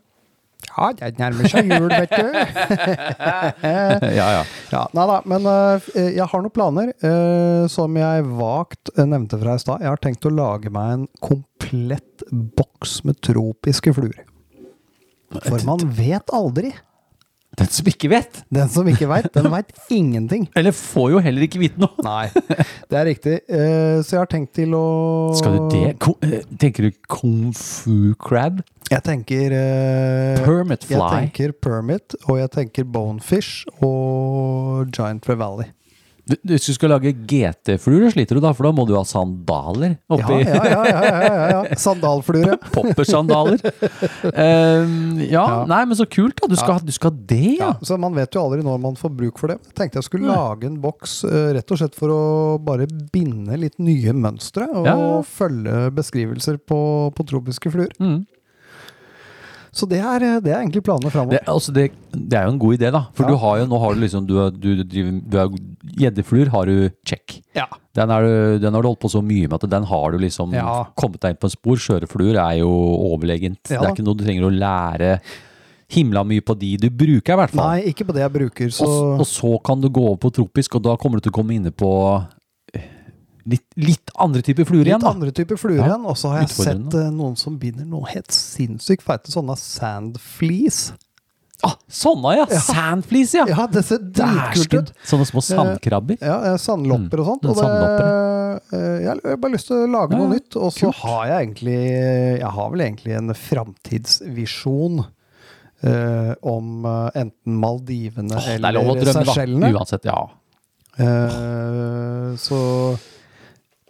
Ja, det nærmer seg jul, vet du.
ja, ja.
Ja, nei da, men eh, f- eh, jeg har noen planer eh, som jeg vagt eh, nevnte fra i stad. Jeg har tenkt å lage meg en komplett boks med tropiske fluer. For man vet aldri.
Den som ikke vet,
Den som ikke veit, den veit ingenting.
eller får jo heller ikke vite noe.
Nei, det er riktig. Eh, Så jeg har tenkt til å
Skal du det? Ko- eh, Tenker du kung fu crab?
Jeg tenker eh,
Permit fly?
Jeg tenker permit, og jeg tenker bonefish og giant trevally.
Du, du, hvis du skal lage GT-fluer, sliter du da, for da må du ha sandaler
Ja,
oppi.
ja, ja, ja, ja, ja, ja. Sandalflure.
Poppersandaler. Eh, ja, nei, men så kult da. Du skal, ha- du skal ha det, ja.
Ja, så Man vet jo aldri når man får bruk for det. Jeg tenkte jeg skulle lage en boks eh, rett og slett for å bare binde litt nye mønstre og
Ja.
følge beskrivelser på, på tropiske fluer.
Mm.
Så det er, eh, det er egentlig planene
Det,
framover.
altså det, det er jo en god idé, da. For
Ja.
du har jo, nå har du liksom Du, er- du, driver du er, Gjeddefluer har du check.
Ja.
Den, er du, den har du holdt på så mye med at den har du liksom
Ja.
kommet deg inn på en spor. Skjørefluer er jo overlegent.
Ja
Det
da.
er ikke noe du trenger å lære himla mye på de du bruker, i hvert fall.
Nei, ikke på det jeg bruker, så
Og, s- og så kan du gå over på tropisk, og da kommer du til å komme inne på eh, litt, litt andre typer fluer
litt
igjen. Da.
andre typer fluer
Ja,
igjen. Og så har jeg
utfordrende.
sett eh, noen som binder noe helt sinnssykt feite sånne sandfleece.
Ah, sånne, ja! Sandflis, ja!
Ja, det ser dritkult
Dæsken!
ut.
Sånne små sandkrabber.
Ja, eh, sandlopper og sånt.
Mm,
Og det, eh, jeg har bare lyst til å lage
Ja,
noe
ja.
nytt. Og så har jeg egentlig Jeg har vel egentlig en framtidsvisjon eh, om eh, enten Maldivene
Åh, det er lov å
eller
drømme, da.
Seychellene.
Uansett, ja.
Eh, så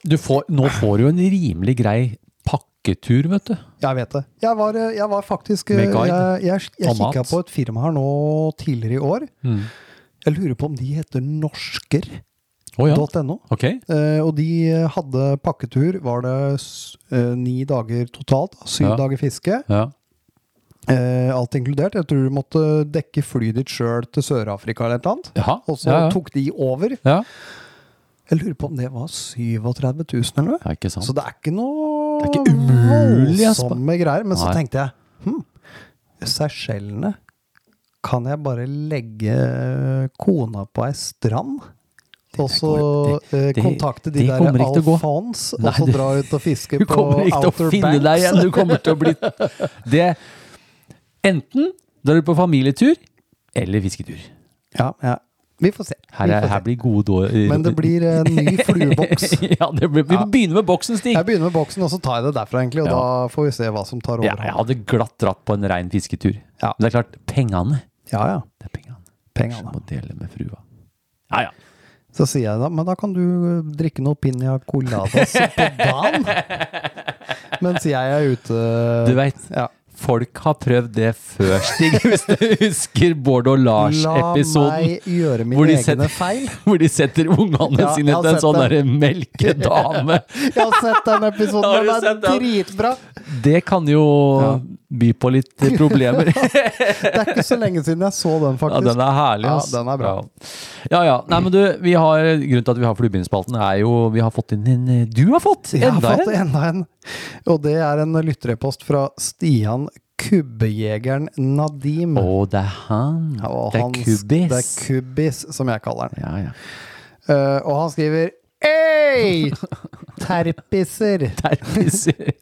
Du får, nå får du jo en rimelig grei pakketur, vet du.
jeg vet det. Jeg var, eh, jeg var faktisk eh,
Med guide
Jeg, jeg, jeg
og mat.
kikka på et firma her nå tidligere i år. Jeg lurer på om de heter norsker.no.
Å ja. Ok.
Eh, og de hadde pakketur, var det s- eh, ni dager totalt. Syv
Ja.
dager fiske,
Ja.
eh, alt inkludert. Jeg tror du måtte dekke flyet ditt sjøl til Sør-Afrika eller et eller annet.
Jaha.
Og så
Ja, ja.
tok de over.
ja.
Jeg lurer på om det var 37 000 eller noe.
Det er ikke sant.
Så det er ikke noe
Det er ikke umulig, Jesper.
voldsomme greier. Men så
Nei.
tenkte jeg hm, Seychellene Kan jeg bare legge eh, kona på ei strand? Og så
går-
eh,
det-
kontakte de
det
der
kommer ikke til å gå.
Alfons, og
Nei,
så
det-
dra ut og fiske
Du
på
kommer ikke til å
Outer
finne deg
Banks.
igjen. Du kommer til å bli det. Enten drar du på familietur eller fisketur.
Ja, ja. Vi får se.
Her,
Vi
er,
får
her
se.
blir gode dår...
Men det blir en ny flueboks.
ja, det blir, vi
Ja.
begynner med boksen, Stig.
Jeg begynner med boksen, og så tar jeg det derfra, egentlig. Og
Ja.
da får vi se hva som tar
Ja,
overhånd.
jeg hadde glatt dratt på en rein fisketur.
Ja.
Men det er klart, pengene
Ja, ja.
Det er pengene.
Pengene.
Må dele med frua. Ja, ja.
Så sier jeg da, men da kan du eh, drikke noe piña coladas på dagen. Mens jeg er ute.
Du vet,
Ja.
folk har prøvd det før, Stig. Hvis du husker Bård og
La
Lars-episoden.
meg gjøre
Hvor
mine
de
egne
setter-
feil.
Hvor de setter ungene
Ja, jeg
sine
har
til en
sett
sånn
det.
derre melkedame.
Jeg har sett den episoden,
Har du
den er
sett den?
dritbra.
Det kan jo
Ja.
by på litt problemer.
Det er ikke så lenge siden jeg så den,
Ja,
faktisk.
den er herlig.
Ja,
ass.
den er bra.
Ja. ja, ja. Nei, men du, vi har, grunnen til at vi har Fluebindspalten, er jo Vi har fått inn en eh, Du har fått
Jeg har
enda
fått
en!
enda en. Og det er en lytterepost fra Stian Kubbejegeren Nadim.
Å, det er han.
Ja, og
det er
hans-
Kubbis.
Det er Kubbis, som jeg kaller den.
ja, ja.
Eh, og han skriver Ei! Terpiser!
Terpiser.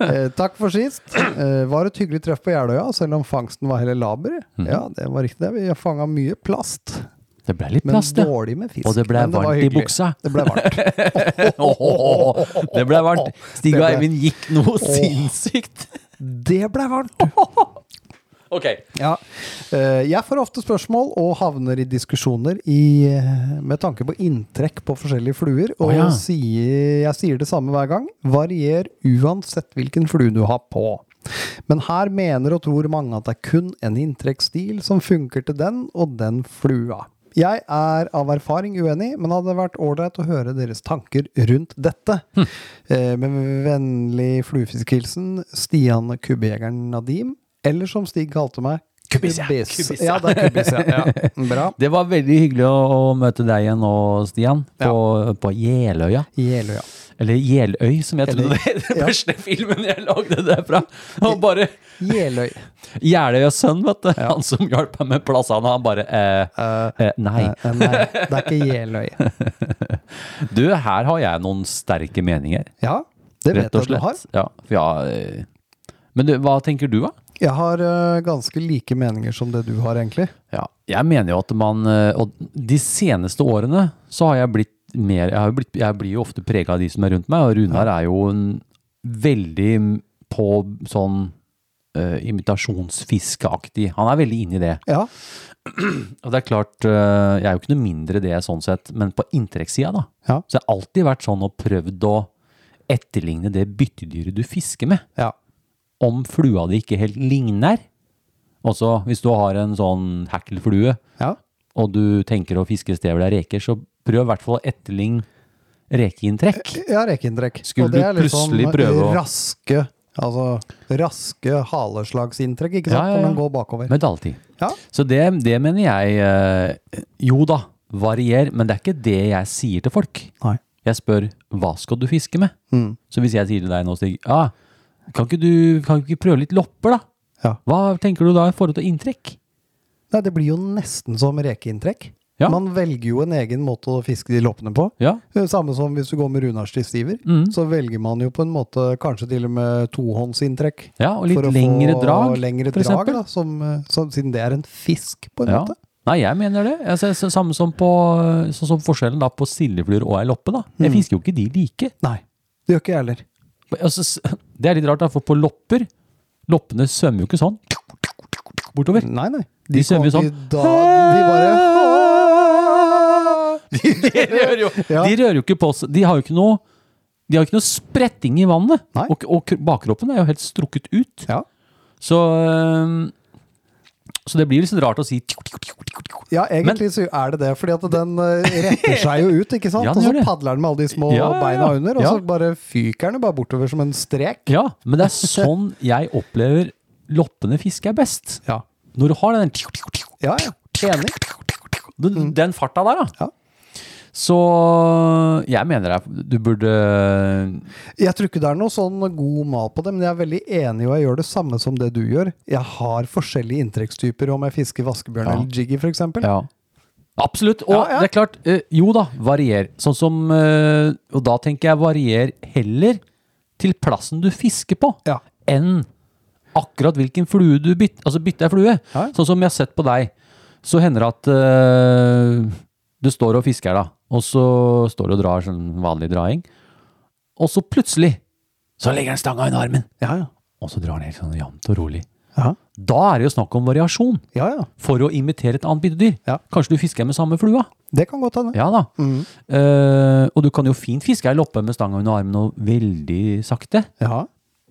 Eh, takk for sist. Eh, var et hyggelig treff på Jeløya, selv om fangsten var heller laber.
Mhm.
Ja, det var riktig det. Vi fanga mye plast,
Det ble litt
men
plast, ja.
dårlig med fisk.
Og det ble
Men var
varmt i
hyggelig.
buksa.
Det ble varmt.
Åh, det ble varmt. Stig
Det
og
ble-
Eivind gikk noe sinnssykt.
Det ble varmt!
Ok.
Ja. Eh, jeg får ofte spørsmål og havner i diskusjoner i, eh, med tanke på inntrekk på forskjellige fluer, og
Å, ja.
sier, jeg sier det samme hver gang. Varier uansett hvilken flue du har på. Men her mener og tror mange at det er kun en inntrekksstil som funker til den og den flua. Jeg er av erfaring uenig, men hadde vært ålreit å høre deres tanker rundt dette.
Hm.
Eh, Med vennlig fluefiskhilsen Stian Kubbejegeren Nadim, eller som Stig kalte meg, Kubbis.
ja. Kubbis, ja.
Ja, det er Kubbis, ja. ja. Bra.
Det var veldig hyggelig å, å møte deg igjen nå, Stian. På, på Jeløya.
Jeløya.
Eller Jeløy, som jeg trodde
Eller-
det het. Den
ja.
første filmen jeg lagde derfra. Og bare
Jeløy.
Jeløyas sønn, vet du. Han som hjalp meg med plassene, han bare eh, eh, Nei.
Eh, Nei, det er ikke Jeløy.
Du, her har jeg noen sterke meninger.
Ja, det vet
Rett og
jeg at du har.
slett. Ja, for jeg, eh, men du, hva tenker du, da?
Jeg har eh, ganske like meninger som det du har, egentlig.
Ja, jeg mener jo at man eh, Og de seneste årene så har jeg blitt mer Jeg, har jo blitt, jeg blir jo ofte prega av de som er rundt meg, og Runar er jo en veldig på sånn eh, imitasjonsfiskeaktig. Han er veldig inne i det.
Ja,
Og det er klart, eh, jeg er jo ikke noe mindre det sånn sett, men på inntrekkssida, da.
Ja.
Så jeg har alltid vært sånn og prøvd å etterligne det byttedyret du fisker med
ja.
om flua di ikke helt ligner. Også hvis du har en sånn hackelflue,
Ja.
og du tenker å fiske stevel av reker, så prøv i hvert fall å etterligne rekeinntrekk.
Jeg har rekeinntrekk.
Skulle
og det er
du
litt sånn
plutselig prøve å-
raske Altså raske haleslagsinntrekk, ikke sant?
Ja, ja, ja.
Når man går bakover.
Medaljetid.
Ja.
Så det, det mener jeg eh, Jo da, varier, men det er ikke det jeg sier til folk.
Nei. Mm.
Jeg spør hva skal du fiske med? Så hvis jeg sier til deg nå, Stig, ja, kan ikke du kan ikke prøve litt lopper, da?
Ja.
Hva tenker du da i forhold til inntrekk?
Nei, det blir jo nesten som rekeinntrekk.
Ja.
Man velger jo en egen måte å fiske de loppene på.
Ja. Mm.
Eh, Samme som hvis du går med Runars til Stiver. Så velger man jo på en måte kanskje til og med tohåndsinntrekk.
Ja, og litt
for å få
lengre drag,
lengre
for
drag
eksempel.
da, som, eh, som, siden det er en fisk, på en
Ja.
måte.
Nei, jeg mener det. Jeg ser, så- samme som på sånn som forskjellen da på sildefluer og ei loppe. da.
Mm.
Jeg fisker jo ikke de like.
Nei, det gjør ikke jeg heller.
Altså, s- det er litt rart, da, for på lopper Loppene svømmer jo ikke sånn bortover.
Nei, nei.
De svømmer jo
kom-
sånn.
De, da, de bare
De rører jo,
Ja.
de rører jo ikke på seg. De har jo ikke noe de har jo ikke noe spretting i vannet.
Nei.
Og, og kro- bakkroppen er jo helt strukket ut.
Ja.
Så, øhm, så det blir litt sånn rart å si tjo, tjo, tjo, tjo, tjo.
Ja, egentlig så er det det, fordi at den eh, retter seg jo ut, ikke sant?
Ja, den
og så
gjør det.
padler den med alle de små
Ja, ja, ja.
beina under, og
Ja.
så bare fyker den jo bare bortover som en strek.
Ja, men det er sånn jeg opplever loppende fiske er best.
Ja.
Når du har den tjo, tjo, tjo,
Ja, ja. Enig.
den, den farta der, da.
Mm. Ja.
Så øh, jeg mener det, du burde
Jeg tror ikke det er noe sånn god mal på det, men jeg er veldig enig, og jeg gjør det samme som det du gjør. Jeg har forskjellige inntrekkstyper, om jeg fisker vaskebjørn
Ja.
eller jiggy, f.eks.
Ja. Absolutt. Og
Ja, ja.
det er klart, eh, jo da, varier. Sånn som eh, Og da tenker jeg varier heller til plassen du fisker på,
Ja.
enn akkurat hvilken flue du bytter. Altså bytte ei flue.
Ja.
Sånn som jeg har sett på deg, så hender det at eh, du står og fisker, da. Og så står du og drar sånn vanlig draing. Og så plutselig så legger den stanga under armen.
Ja, ja.
Og så drar den helt sånn jevnt og rolig.
Ja,
Da er det jo snakk om variasjon
ja. ja.
for å imitere et annet byttedyr.
Ja.
Kanskje du fisker med samme flua?
Det kan godt hende.
Ja da.
Mm.
Eh, og du kan jo fint fiske ei loppe med stanga under armen og veldig sakte,
Ja.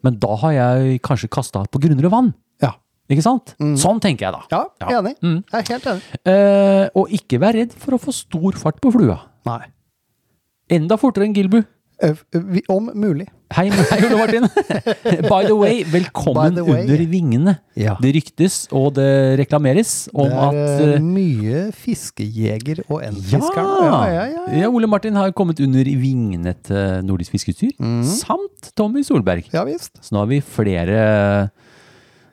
men da har jeg kanskje kasta på grunnere vann.
Ja.
Ikke sant? Sånn tenker jeg da.
Mm. Ja,
Ja.
enig.
Mm.
Jeg er helt enig.
Eh, og ikke vær redd for å få stor fart på flua.
Nei.
Enda fortere enn Gilbu.
Eh, vi- Om mulig.
Hei, hei Ole Martin. By the way, velkommen
By the way.
under vingene.
Ja.
Det ryktes og det reklameres om
Det er
at
eh,
eh,
mye fiskejeger og endfisker.
Ja.
ja, ja, ja.
Ja, Ole Martin har kommet under vingene til Nordisk Fiskeutstyr,
Mm.
samt Tommy Solberg.
Ja visst.
Så nå har vi flere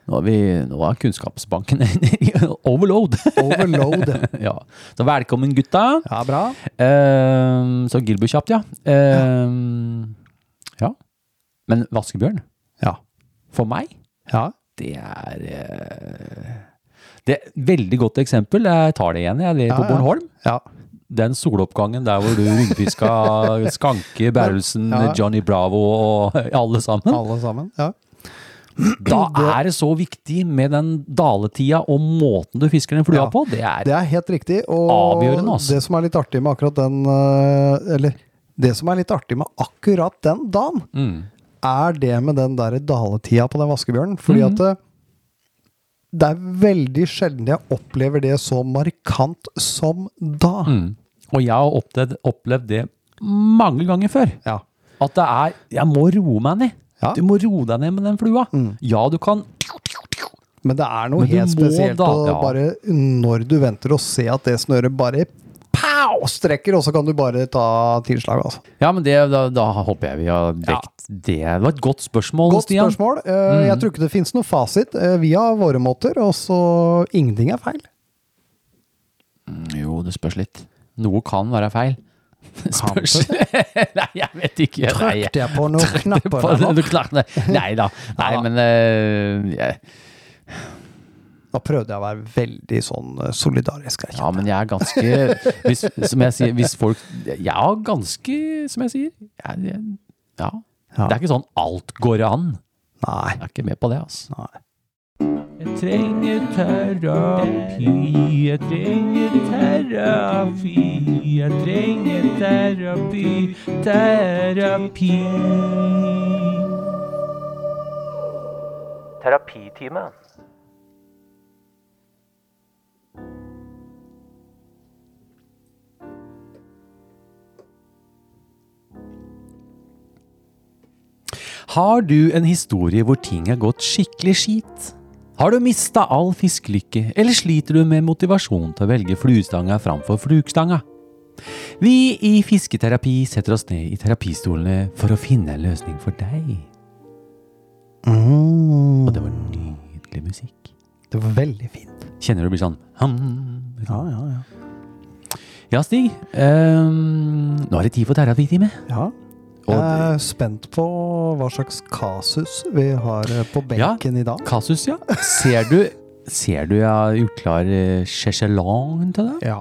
Nå har, vi, nå har kunnskapsbanken overload.
Overload.
ja. Så velkommen, gutta.
Ja, bra.
Ehm, så Gilbu kjapt, ja. Ehm, ja. Men vaskebjørn,
Ja.
for meg,
Ja.
det er eh, Det er et veldig godt eksempel. Jeg tar det igjen, jeg. Det er på
Ja, ja.
Bornholm.
ja.
Den soloppgangen der hvor du ryggfiska Skanke, Berrelsen,
Ja.
Johnny Bravo og alle sammen.
Alle sammen. Ja.
Da er det så viktig med den daletida og måten du fisker den flua
Ja,
på. Det er
Det er helt riktig. Og
Avgjørende, altså.
det som er litt artig med akkurat den eh, Eller det som er litt artig med akkurat den dagen,
Mm.
er det med den der daletida på den vaskebjørnen. Fordi
Mm.
at det, det er veldig sjelden jeg opplever det så markant som da.
Mm. Og jeg har opplevd, opplevd det mange ganger før.
Ja.
At det er Jeg må roe meg ned.
Ja.
Du må roe deg ned med den flua. Ja, du kan
Men det er noe
Men du
helt
må
spesielt
da-
å
ja.
bare Når du venter og ser at det snøret bare pow, strekker, og så kan du bare ta tilslag, altså.
Ja, men det, da, da håper jeg vi har dekt det. Det var et godt spørsmål,
Godt
Stian. Mm.
spørsmål. Eh, Jeg tror ikke det finnes noen fasit. Eh, Vi har våre måter, og så ingenting er feil.
Jo, det spørs litt. Noe kan være feil. Spørs Nei, jeg vet ikke. Nei, jeg-
Trykte jeg på noen knapper
på
der nå?
den klakken der. Nei da. Nei,
Ja da.
men eh, jeg-
Nå prøvde jeg å være veldig sånn eh, solidarisk. jeg
Ja, men jeg er ganske hvis, Som jeg sier, hvis folk Jeg er ganske, som jeg sier jeg, jeg, Ja.
Ja.
Det er ikke sånn alt går an.
kjenner. Nei.
Jeg er ikke med på det, altså.
Nei.
Jeg trenger terapi, jeg trenger terapi, jeg trenger terapi, terapi.
Terapitime.
Har du en historie hvor ting har gått skikkelig skit? Har du mista all fiskelykke, eller sliter du med motivasjon til å velge fluestanga framfor flukstanga? Vi i Fisketerapi setter oss ned i terapistolene for å finne en løsning for deg. Og det var nydelig musikk.
Det var veldig fint.
Kjenner du det blir sånn hum.
Ja, ja, ja.
Ja, Stig. ehm, nå er det tid for terapitime.
Ja.
Og
Jeg er spent på hva slags kasus vi har eh, på
Ja.
benken i dag.
Kasus, ja. Ser du, ser du jeg har gjort klar eh, sjeselang til deg?
Ja.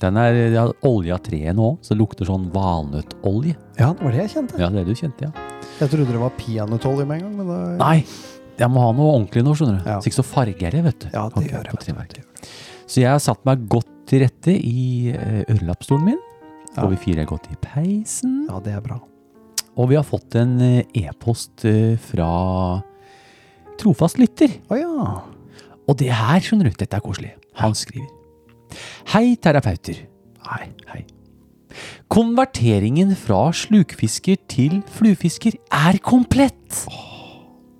Den er jeg har olja treet nå, så det lukter sånn valnøttolje.
ja, det var det jeg kjente.
Ja, det er det du kjente, ja.
Jeg trodde det var peanøttolje med en gang. men det...
Nei, jeg må ha noe ordentlig nå, skjønner du.
Ja.
Så ikke så farger jeg, vet du.
Ja, det
Ok,
gjør jeg,
på
vet du,
treverket. Så jeg har satt meg godt til rette i eh, ørelappstolen min.
Ja.
Og vi fire er gått i peisen.
Ja, det er bra.
Og vi har fått en eh, e-post eh, fra trofast lytter.
Å ja.
Og det her, skjønner du, dette er koselig. Han skriver. Hei, terapeuter. Hei, hei. Konverteringen fra slukfisker til fluefisker er komplett.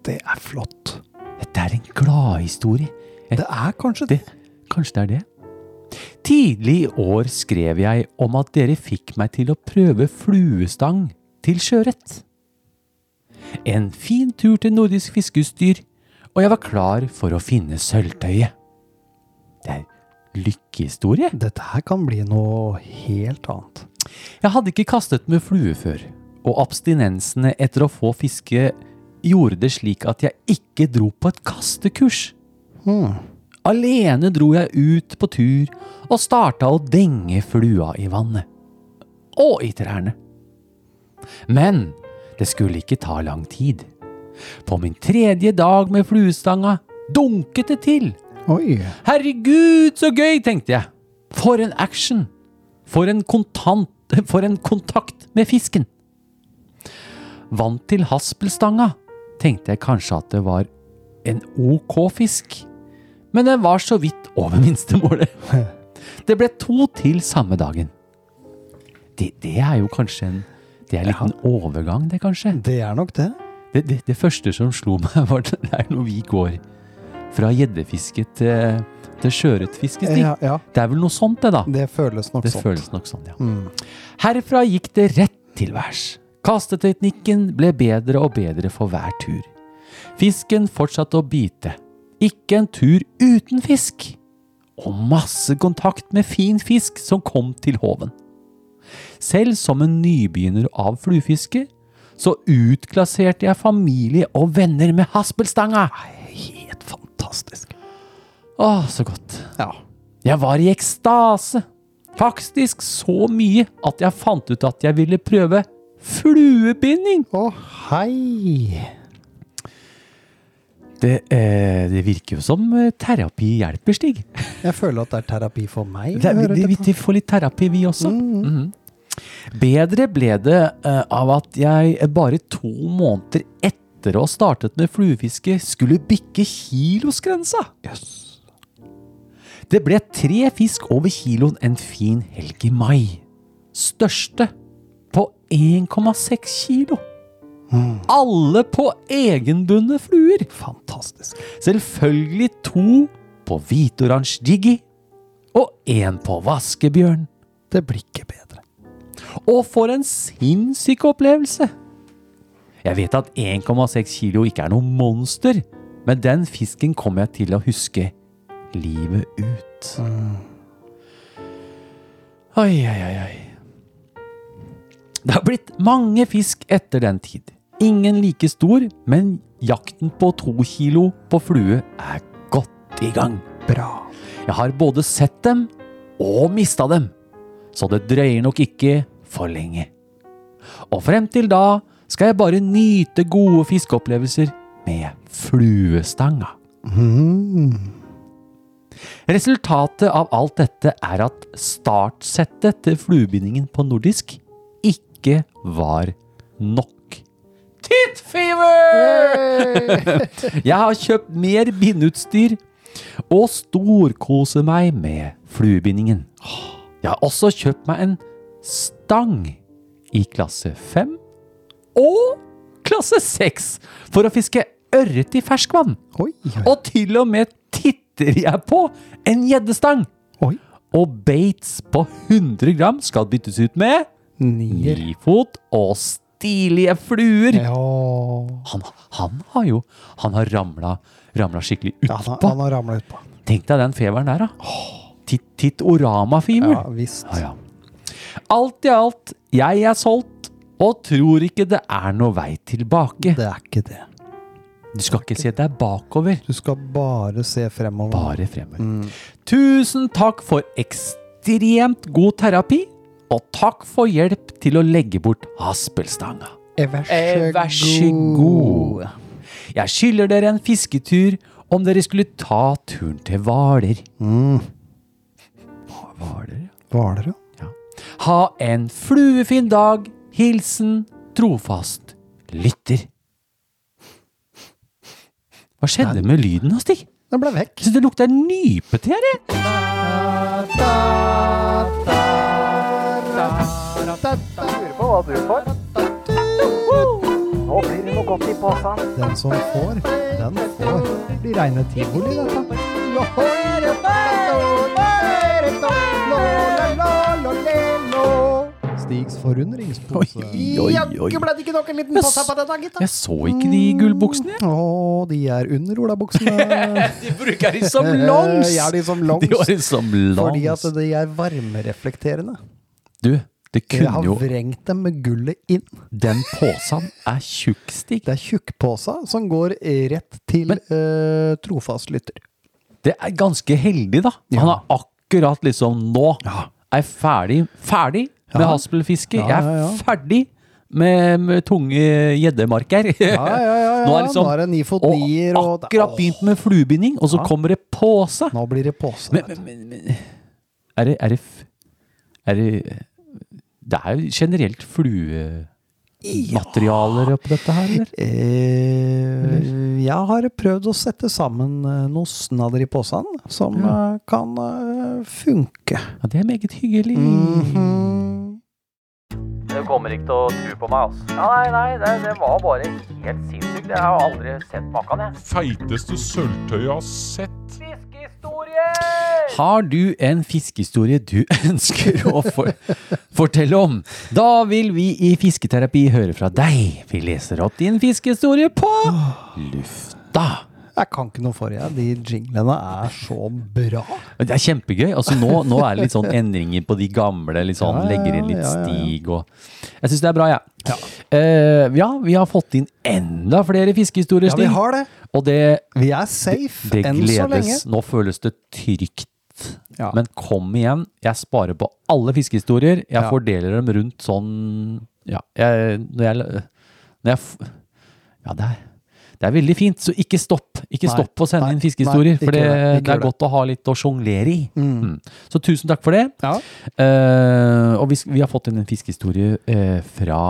Det er flott.
Dette er en gladhistorie.
Det er kanskje
Det, kanskje det er det? Tidlig i år skrev jeg om at dere fikk meg til å prøve fluestang til sjøørret. En fin tur til nordisk fiskeutstyr, og jeg var klar for å finne sølvtøyet. Det er lykkehistorie.
Dette her kan bli noe helt annet.
Jeg hadde ikke kastet med flue før, og abstinensene etter å få fiske gjorde det slik at jeg ikke dro på et kastekurs. Alene dro jeg ut på tur og starta å denge flua i vannet. Og i trærne. Men det skulle ikke ta lang tid. På min tredje dag med fluestanga dunket det til.
Oi.
Herregud, så gøy, tenkte jeg. For en action! For en, kontant, for en kontakt med fisken! Vant til haspelstanga, tenkte jeg kanskje at det var en ok fisk. Men den var så vidt over minstemålet. Det ble to til samme dagen. Det, det er jo kanskje en Det er en liten overgang, det, kanskje?
Det er nok det.
Det, det, det første som slo meg, var det det er når vi går fra gjeddefiske til, til sjøørretfiske. Stig.
Ja, ja.
Det er vel noe sånt, det, da?
Det føles nok
Det
sånn.
føles nok sånn, ja. Herfra gikk det rett til værs. Kasteteknikken ble bedre og bedre for hver tur. Fisken fortsatte å bite. Ikke en tur uten fisk. Og masse kontakt med fin fisk som kom til håven. Selv som en nybegynner av fluefiske, så utklasserte jeg familie og venner med haspelstanga. Helt fantastisk. Åh, så godt.
Ja.
Jeg var i ekstase. Faktisk så mye at jeg fant ut at jeg ville prøve fluebinding.
Å, hei!
Det, eh, det virker jo som eh, terapi hjelper, Stig.
Jeg føler at det er terapi for meg.
Det,
å
er-
høre
vi, vi,
dette.
vi får litt terapi, vi også. Mhm. Bedre ble det eh, av at jeg bare to måneder etter å ha startet med fluefiske, skulle bikke kilosgrensa. Det ble tre fisk over kiloen en fin helg i mai. Største på 1,6 kilo. Alle på egenbundne fluer. Fantastisk. Selvfølgelig to på hvitoransje Jiggy og én på vaskebjørn.
Det blir ikke bedre.
Og for en sinnssyk opplevelse! Jeg vet at 1,6 kilo ikke er noe monster, men den fisken kommer jeg til å huske livet ut. Oi, oi, oi, oi. Det har blitt mange fisk etter den tid. Ingen like stor, men jakten på to kilo på flue er godt i gang.
Bra.
Jeg har både sett dem og mista dem, så det drøyer nok ikke for lenge. Og frem til da skal jeg bare nyte gode fiskeopplevelser med fluestanga. Resultatet av alt dette er at startsettet til fluebindingen på nordisk ikke var nok. Tit fever! jeg har kjøpt mer bindeutstyr og storkose meg med fluebindingen. Jeg har også kjøpt meg en stang i klasse 5 og klasse 6 for å fiske ørret i ferskvann.
Oi, oi,
Og til og med titter jeg på en gjeddestang.
oi.
Og baits på 100 gram skal byttes ut med
Nier.
nifot og stilige fluer.
Ja.
Han, han har jo Han har ramla, ramla skikkelig
Ja, han,
utpå.
han har ramla utpå.
Tenk deg den feveren der, da. Tittorama-fever.
Ja visst.
Ja, ja. Alt i alt, jeg er solgt og tror ikke det er noe vei tilbake.
Det er ikke det.
Du skal ikke se deg bakover,
Du skal bare se fremover.
bare fremover.
Mm.
Tusen takk for ekstremt god terapi, og takk for hjelp til å legge bort haspelstanga.
Eh, Vær
Eh, Vær så god. Jeg skylder dere en fisketur om dere skulle ta turen til Hvaler.
Mm.
Hva- Hvaler, ja.
Hvaler, ja.
Ha en fluefin dag. Hilsen trofast lytter. Hva skjedde med lyden da, Stig? Jeg
Den ble vekk.
synes det lukter nypete her. jeg.
Lurer på hva du får. Nå blir det noe godt i posen.
Den som får, den får. Det blir reine tivoli, dette. Stigs forundringspose.
Oi, oi, oi. Jeg s- Jeg så ikke
Mm.
de gullbuksene. jeg.
Å, de er under olabuksene.
De bruker de som longs.
Jeg har de som longs.
De har de som
Fordi
longs.
at de er varmereflekterende.
Du, det
Jeg
kunne
har
jo
vrengt dem med gullet inn.
Den posen er tjukk, Stig.
Det er tjukkpåsa som går rett til eh, trofast lytter.
Det er ganske heldig, da. Han er akkurat liksom nå. Er ferdig, ferdig med haspelfiske.
Ja,
Jeg
ja, ja.
er ferdig med, med tunge gjeddemarker.
Ja, ja, ja, ja.
Nå er liksom
Nå er det ni fot nier,
og
og-
akkurat begynt med fluebinding, og så kommer det påse.
Nå blir det påse.
Men, men, men, men er, det, er det f- Er det Det er jo generelt fluematerialer oppi dette her, eller?
Eh, jeg har prøvd å sette sammen eh, noe snadder i posen som eh, kan eh, funke.
Ja, det er meget hyggelig. Mm-hmm.
Du kommer ikke til å tro på meg, altså. Ja, nei, nei, det, det var bare helt sinnssykt. Jeg har aldri sett maken, jeg.
Feiteste sølvtøyet jeg har sett.
Fiskehistorier!
Har du en fiskehistorie du ønsker å for fortelle om? Da vil vi i Fisketerapi høre fra deg. Vi leser opp din fiskehistorie på lufta.
Jeg kan ikke noe for jeg. De jinglene er så bra.
Det er kjempegøy. Altså nå, nå er det litt sånn endringer på de gamle. Litt sånn,
Ja, ja,
legger inn litt
ja, ja, ja.
stig og Jeg syns det er bra, jeg. Ja. Eh, ja, vi har fått inn enda flere fiskehistorier,
Ja, vi
Stig.
har det.
og det,
Vi er safe
det
enn så lenge.
gledes. Nå føles det trygt.
Ja.
Men kom igjen, jeg sparer på alle fiskehistorier. Jeg
Ja.
fordeler dem rundt sånn Ja, jeg, når jeg, når jeg f- Ja, det er, det er veldig fint, så ikke stopp. Ikke
Nei,
stopp å sende
nei,
inn fiskehistorier,
nei, ikke
for det,
gjør
det,
det, ikke
er
gjør det.
godt å ha litt å sjonglere i. Mm. Så tusen takk for det.
Ja.
Eh, og vi, sk- vi har fått inn en fiskehistorie eh, fra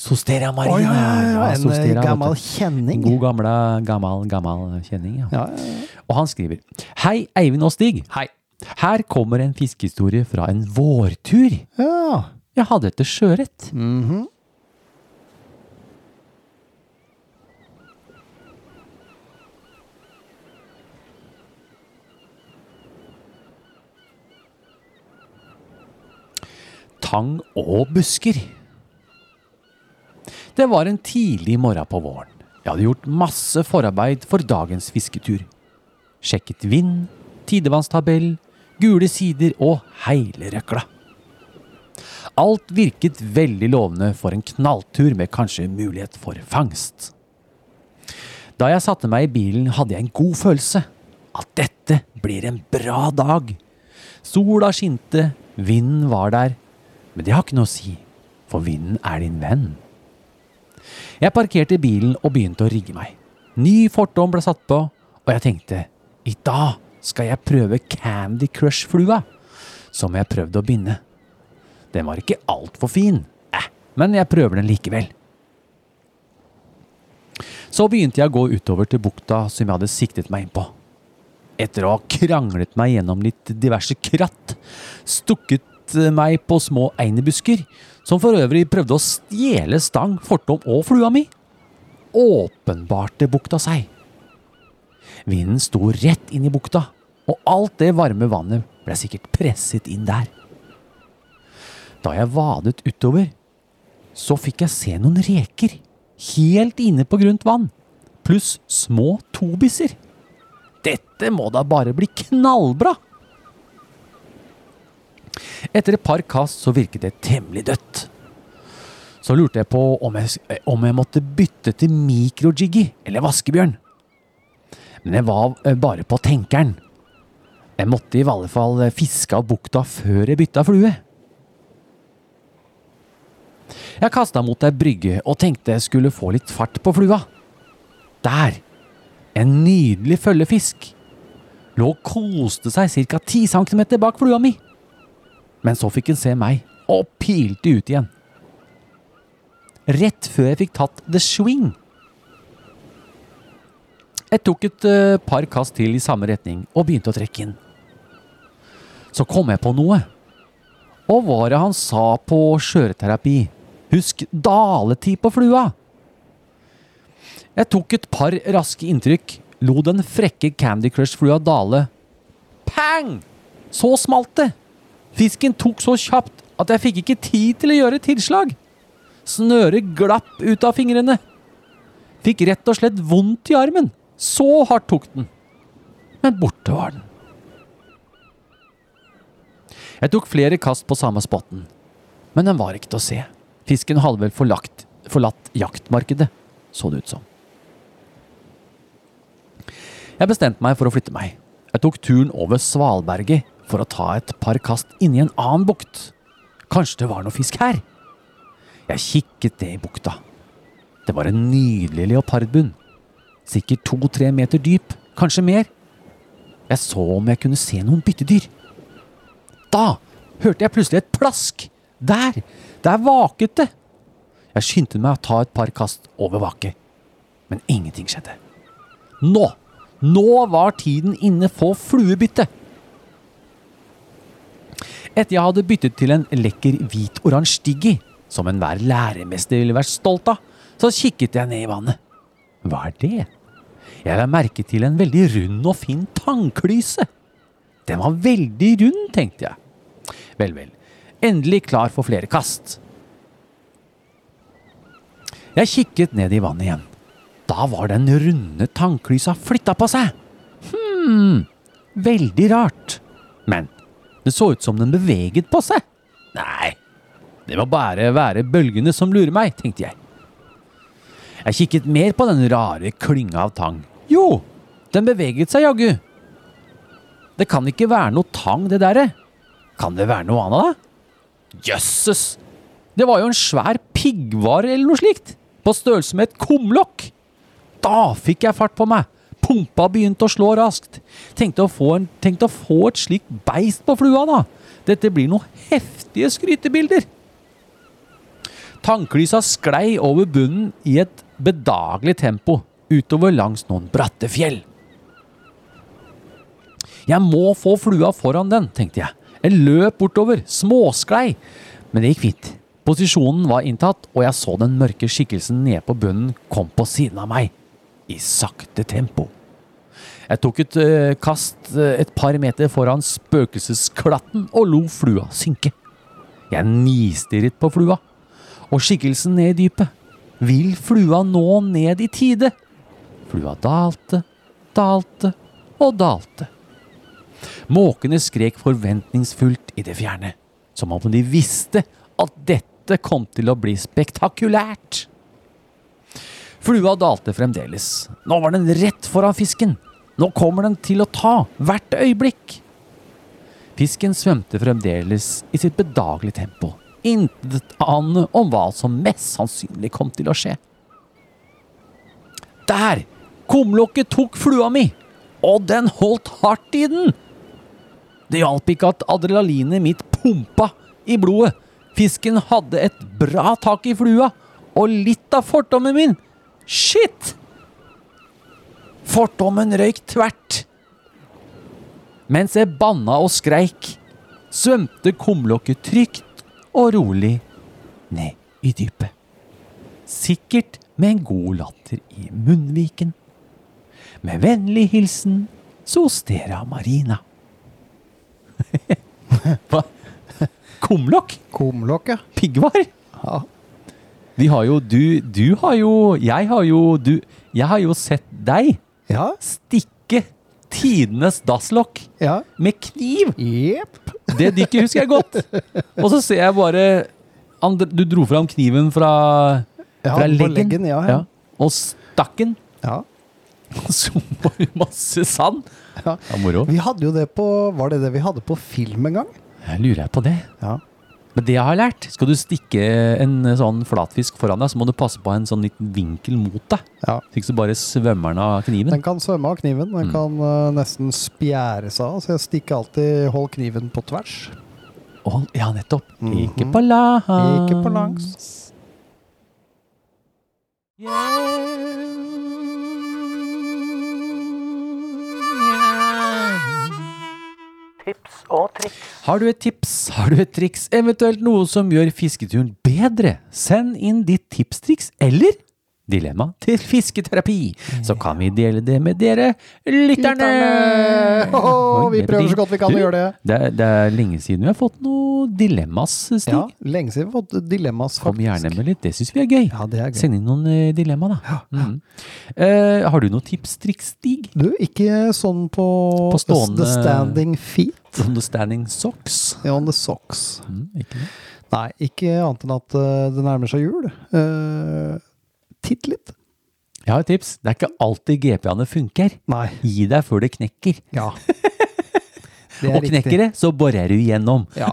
Sostera Marina.
Å, ja, ja, ja,
Ja,
en
Sostera,
eh,
vet du.
gammel kjenning.
God gamle, gammel, gammel kjenning. Ja.
Ja, ja, ja.
Og han skriver Hei, Eivind og Stig. Hei. Her kommer en fiskehistorie fra en vårtur
ja.
jeg hadde etter sjøørret. Tang og busker. Det var en tidlig morgen på våren. Jeg hadde gjort masse forarbeid for dagens fisketur sjekket vind, tidevannstabell, gule sider og hele røkla. Alt virket veldig lovende for en knalltur med kanskje mulighet for fangst. Da jeg satte meg i bilen, hadde jeg en god følelse. At dette blir en bra dag. Sola skinte, vinden var der. Men det har ikke noe å si, for vinden er din venn. Jeg parkerte bilen og begynte å rigge meg. Ny fortom ble satt på, og jeg tenkte i dag skal jeg prøve Candy Crush-flua, som jeg prøvde å binde. Den var ikke altfor fin, eh, men jeg prøver den likevel. Så begynte jeg å gå utover til bukta som jeg hadde siktet meg inn på. Etter å ha kranglet meg gjennom litt diverse kratt, stukket eh, meg på små einebusker, som for øvrig prøvde å stjele stang, fortom og flua mi, åpenbart det bukta seg. Vinden sto rett inn i bukta, og alt det varme vannet ble sikkert presset inn der. Da jeg vadet utover, så fikk jeg se noen reker, helt inne på grunt vann, pluss små tobisser. Dette må da bare bli knallbra! Etter et par kast så virket det temmelig dødt. Så lurte jeg på om jeg, eh, om jeg måtte bytte til mikrojiggy eller vaskebjørn. Men jeg var eh, bare på tenkeren. Jeg måtte i alle fall eh, fiske av bukta før jeg bytta flue. Jeg kasta mot ei brygge og tenkte jeg skulle få litt fart på flua. Der! En nydelig følgefisk. Lå og koste seg ca. 10 cm bak flua mi. Men så fikk han se meg, og pilte ut igjen. Rett før jeg fikk tatt the swing. Jeg tok et eh, par kast til i samme retning og begynte å trekke inn. Så kom jeg på noe. Og hva var det han sa på skjøreterapi? Husk daletid på flua! Jeg tok et par raske inntrykk, lo den frekke Candy Crush-flua dale. Pang! Så smalt det! Fisken tok så kjapt at jeg fikk ikke tid til å gjøre et tilslag. Snøret glapp ut av fingrene. Fikk rett og slett vondt i armen. Så hardt tok den. Men borte var den. Jeg tok flere kast på samme spotten, men den var ikke til å se. Fisken hadde vel forlagt, forlatt jaktmarkedet, så det ut som. Jeg bestemte meg for å flytte meg. Jeg tok turen over Svalberget for å ta et par kast inni en annen bukt. Kanskje det var noe fisk her? Jeg kikket ned i bukta. Det var en nydelig leopardbunn. Sikkert to-tre meter dyp, kanskje mer. Jeg så om jeg kunne se noen byttedyr. Da hørte jeg plutselig et plask. Der! Der vaket det! Jeg skyndte meg å ta et par kast over vaket, men ingenting skjedde. Nå! Nå var tiden inne for fluebytte! Etter jeg hadde byttet til en lekker hvit-oransje Diggy, som enhver læremester ville vært stolt av, så kikket jeg ned i vannet. Hva er det? Jeg la merke til en veldig rund og fin tangklyse. Den var veldig rund, tenkte jeg. Vel, vel. Endelig klar for flere kast. Jeg kikket ned i vannet igjen. Da var den runde tannklysa flytta på seg. Hm, veldig rart. Men det så ut som den beveget på seg. Nei, det må bare være bølgene som lurer meg, tenkte jeg. Jeg kikket mer på den rare klynga av tang. Jo, den beveget seg jaggu. Det kan ikke være noe tang, det derre. Kan det være noe annet, da? Jøsses! Det var jo en svær piggvare eller noe slikt, på størrelse med et kumlokk. Da fikk jeg fart på meg. Pumpa begynte å slå raskt. Tenkte å få, en, tenkte å få et slikt beist på flua, da. Dette blir noen heftige skrytebilder. Tannklysa sklei over bunnen i et bedagelig tempo utover langs noen bratte fjell. Jeg må få flua foran den, tenkte jeg. Jeg løp bortover, småsklei. Men det gikk fint. Posisjonen var inntatt, og jeg så den mørke skikkelsen nede på bunnen kom på siden av meg. I sakte tempo. Jeg tok et eh, kast eh, et par meter foran spøkelsesklatten og lo flua synke. Jeg nistirret på flua, og skikkelsen ned i dypet. Vil flua nå ned i tide? Flua dalte, dalte og dalte. Måkene skrek forventningsfullt i det fjerne, som om de visste at dette kom til å bli spektakulært. Flua dalte fremdeles. Nå var den rett foran fisken. Nå kommer den til å ta hvert øyeblikk. Fisken svømte fremdeles i sitt bedagelige tempo, intetanende om hva som mest sannsynlig kom til å skje. Der! Kumlokket tok flua mi, og den holdt hardt i den! Det hjalp ikke at adrenalinet mitt pumpa i blodet. Fisken hadde et bra tak i flua, og litt av fordommen min. Shit! Fordommen røyk tvert. Mens jeg banna og skreik, svømte kumlokket trygt og rolig ned i dypet. Sikkert med en god latter i munnviken. Med vennlig hilsen Sostera Marina. Hva? Kumlokk?
Kumlokket.
Piggvar?
Ja.
Vi har jo Du, du har jo Jeg har jo du, Jeg har jo sett deg
Ja.
stikke tidenes dasslokk
Ja.
med kniv!
Jepp.
Det dykket husker jeg godt. Og så ser jeg bare andre, Du dro fram kniven fra,
Ja,
fra
på
leggen.
leggen, ja, ja.
Og stakk den.
Ja.
Så var det masse sand.
Ja.
Ja, moro.
Vi hadde jo det på Var det det vi hadde på film en gang?
Jeg lurer jeg på det.
Ja.
Men det jeg har lært, skal du stikke en sånn flatfisk foran deg, så må du passe på en sånn liten vinkel mot deg.
ja.
Så ikke så bare svømmer den av kniven. Mm.
Den kan svømme av kniven. Den kan eh, nesten spjære seg av. Så jeg stikker alltid Hold kniven på tvers.
Å, ja, nettopp. Ikke på langs.
Mhm. Ikke på langs.
Tips og triks.
Har du et tips, har du et triks, eventuelt noe som gjør fisketuren bedre? Send inn ditt tipstriks eller dilemma til fisketerapi, så kan vi dele det med dere lytterne!
Ho, ho, vi
Oi,
prøver så godt vi kan
du,
å gjøre det.
Det er, det er lenge siden vi har fått noe dilemmas, Stig.
Ja, lenge siden vi har fått dilemmas,
Kom
faktisk.
gjerne med litt, det syns vi er gøy.
Ja, det er gøy.
Send inn noen eh, dilemma, da. Mm. Eh, har du noe tipstriks, Stig?
Du, ikke sånn på,
På stående-
The standing feet
Understanding socks?
on the socks.
Mm, ikke noe.
Nei, ikke annet enn at eh, det nærmer seg jul. Eh, titt litt.
Jeg har et tips. Det er ikke alltid GP-ene funker.
Nei.
Gi deg før det knekker.
Ja. Det
Og knekker det, så borer du igjennom.
Ja.